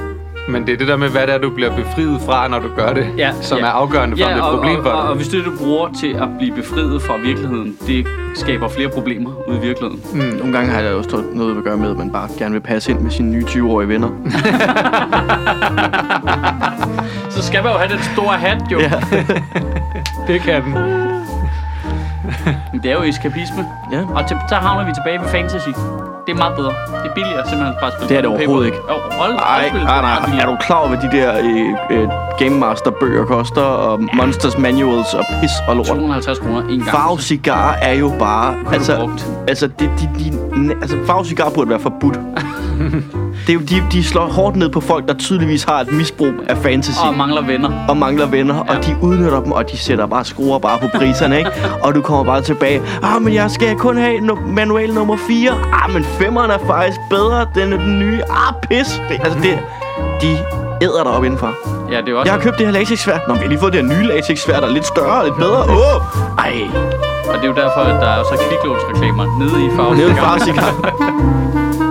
Speaker 3: Men det er det der med, hvad det er, du bliver befriet fra, når du gør det,
Speaker 2: Ja,
Speaker 3: som
Speaker 2: ja.
Speaker 3: er afgørende for, om det er et
Speaker 2: og,
Speaker 3: problem for
Speaker 2: og, og,
Speaker 3: dig.
Speaker 2: og hvis det, du bruger til at blive befriet fra virkeligheden, det skaber flere problemer ude i virkeligheden.
Speaker 1: Nogle gange har det jo også noget at gøre med, at man bare gerne vil passe ind med sine nye 20-årige venner.
Speaker 2: Så skal man jo have den store hat, jo.
Speaker 1: ja.
Speaker 3: Det kan den.
Speaker 2: Men Det er jo eskapisme.
Speaker 1: ja.
Speaker 2: Og til, så havner vi tilbage ved fantasy. Det er meget bedre. Det er billigere simpelthen bare at spille
Speaker 1: Det er det
Speaker 2: pen and
Speaker 1: overhovedet
Speaker 2: paper.
Speaker 1: ikke.
Speaker 2: Jo, hold Altså,
Speaker 1: Ej,
Speaker 2: hold-
Speaker 1: nej,
Speaker 2: hold-
Speaker 1: nej. Er du klar over, hvad de der øh, øh, Game Master-bøger koster, og Monsters Manuals og pis og lort?
Speaker 2: 250 kroner en gang.
Speaker 1: Farve cigar er jo bare...
Speaker 2: du brugt.
Speaker 1: altså, det, de, de, altså farve cigar burde være forbudt. det er jo, de, de slår hårdt ned på folk, der tydeligvis har et misbrug af fantasy.
Speaker 2: Og mangler venner.
Speaker 1: og mangler venner, ja.
Speaker 2: Ja.
Speaker 1: og de udnytter dem, og de sætter bare skruer bare på priserne, ikke? og du kommer bare tilbage, ah, men jeg skal kun have no- manual nummer 4, ah, men 5'eren er faktisk bedre, den er den nye, ah, pis, det, altså det, de æder dig op indenfor.
Speaker 2: Ja, det er jo også...
Speaker 1: Jeg har købt det her latexsværd, nå, men jeg har lige fået det her nye latexsværd, der er lidt større og lidt bedre, åh, oh! ej,
Speaker 2: Og det er jo derfor, at der er så kviklånsreklamer nede i farve.
Speaker 1: nede i farsikker.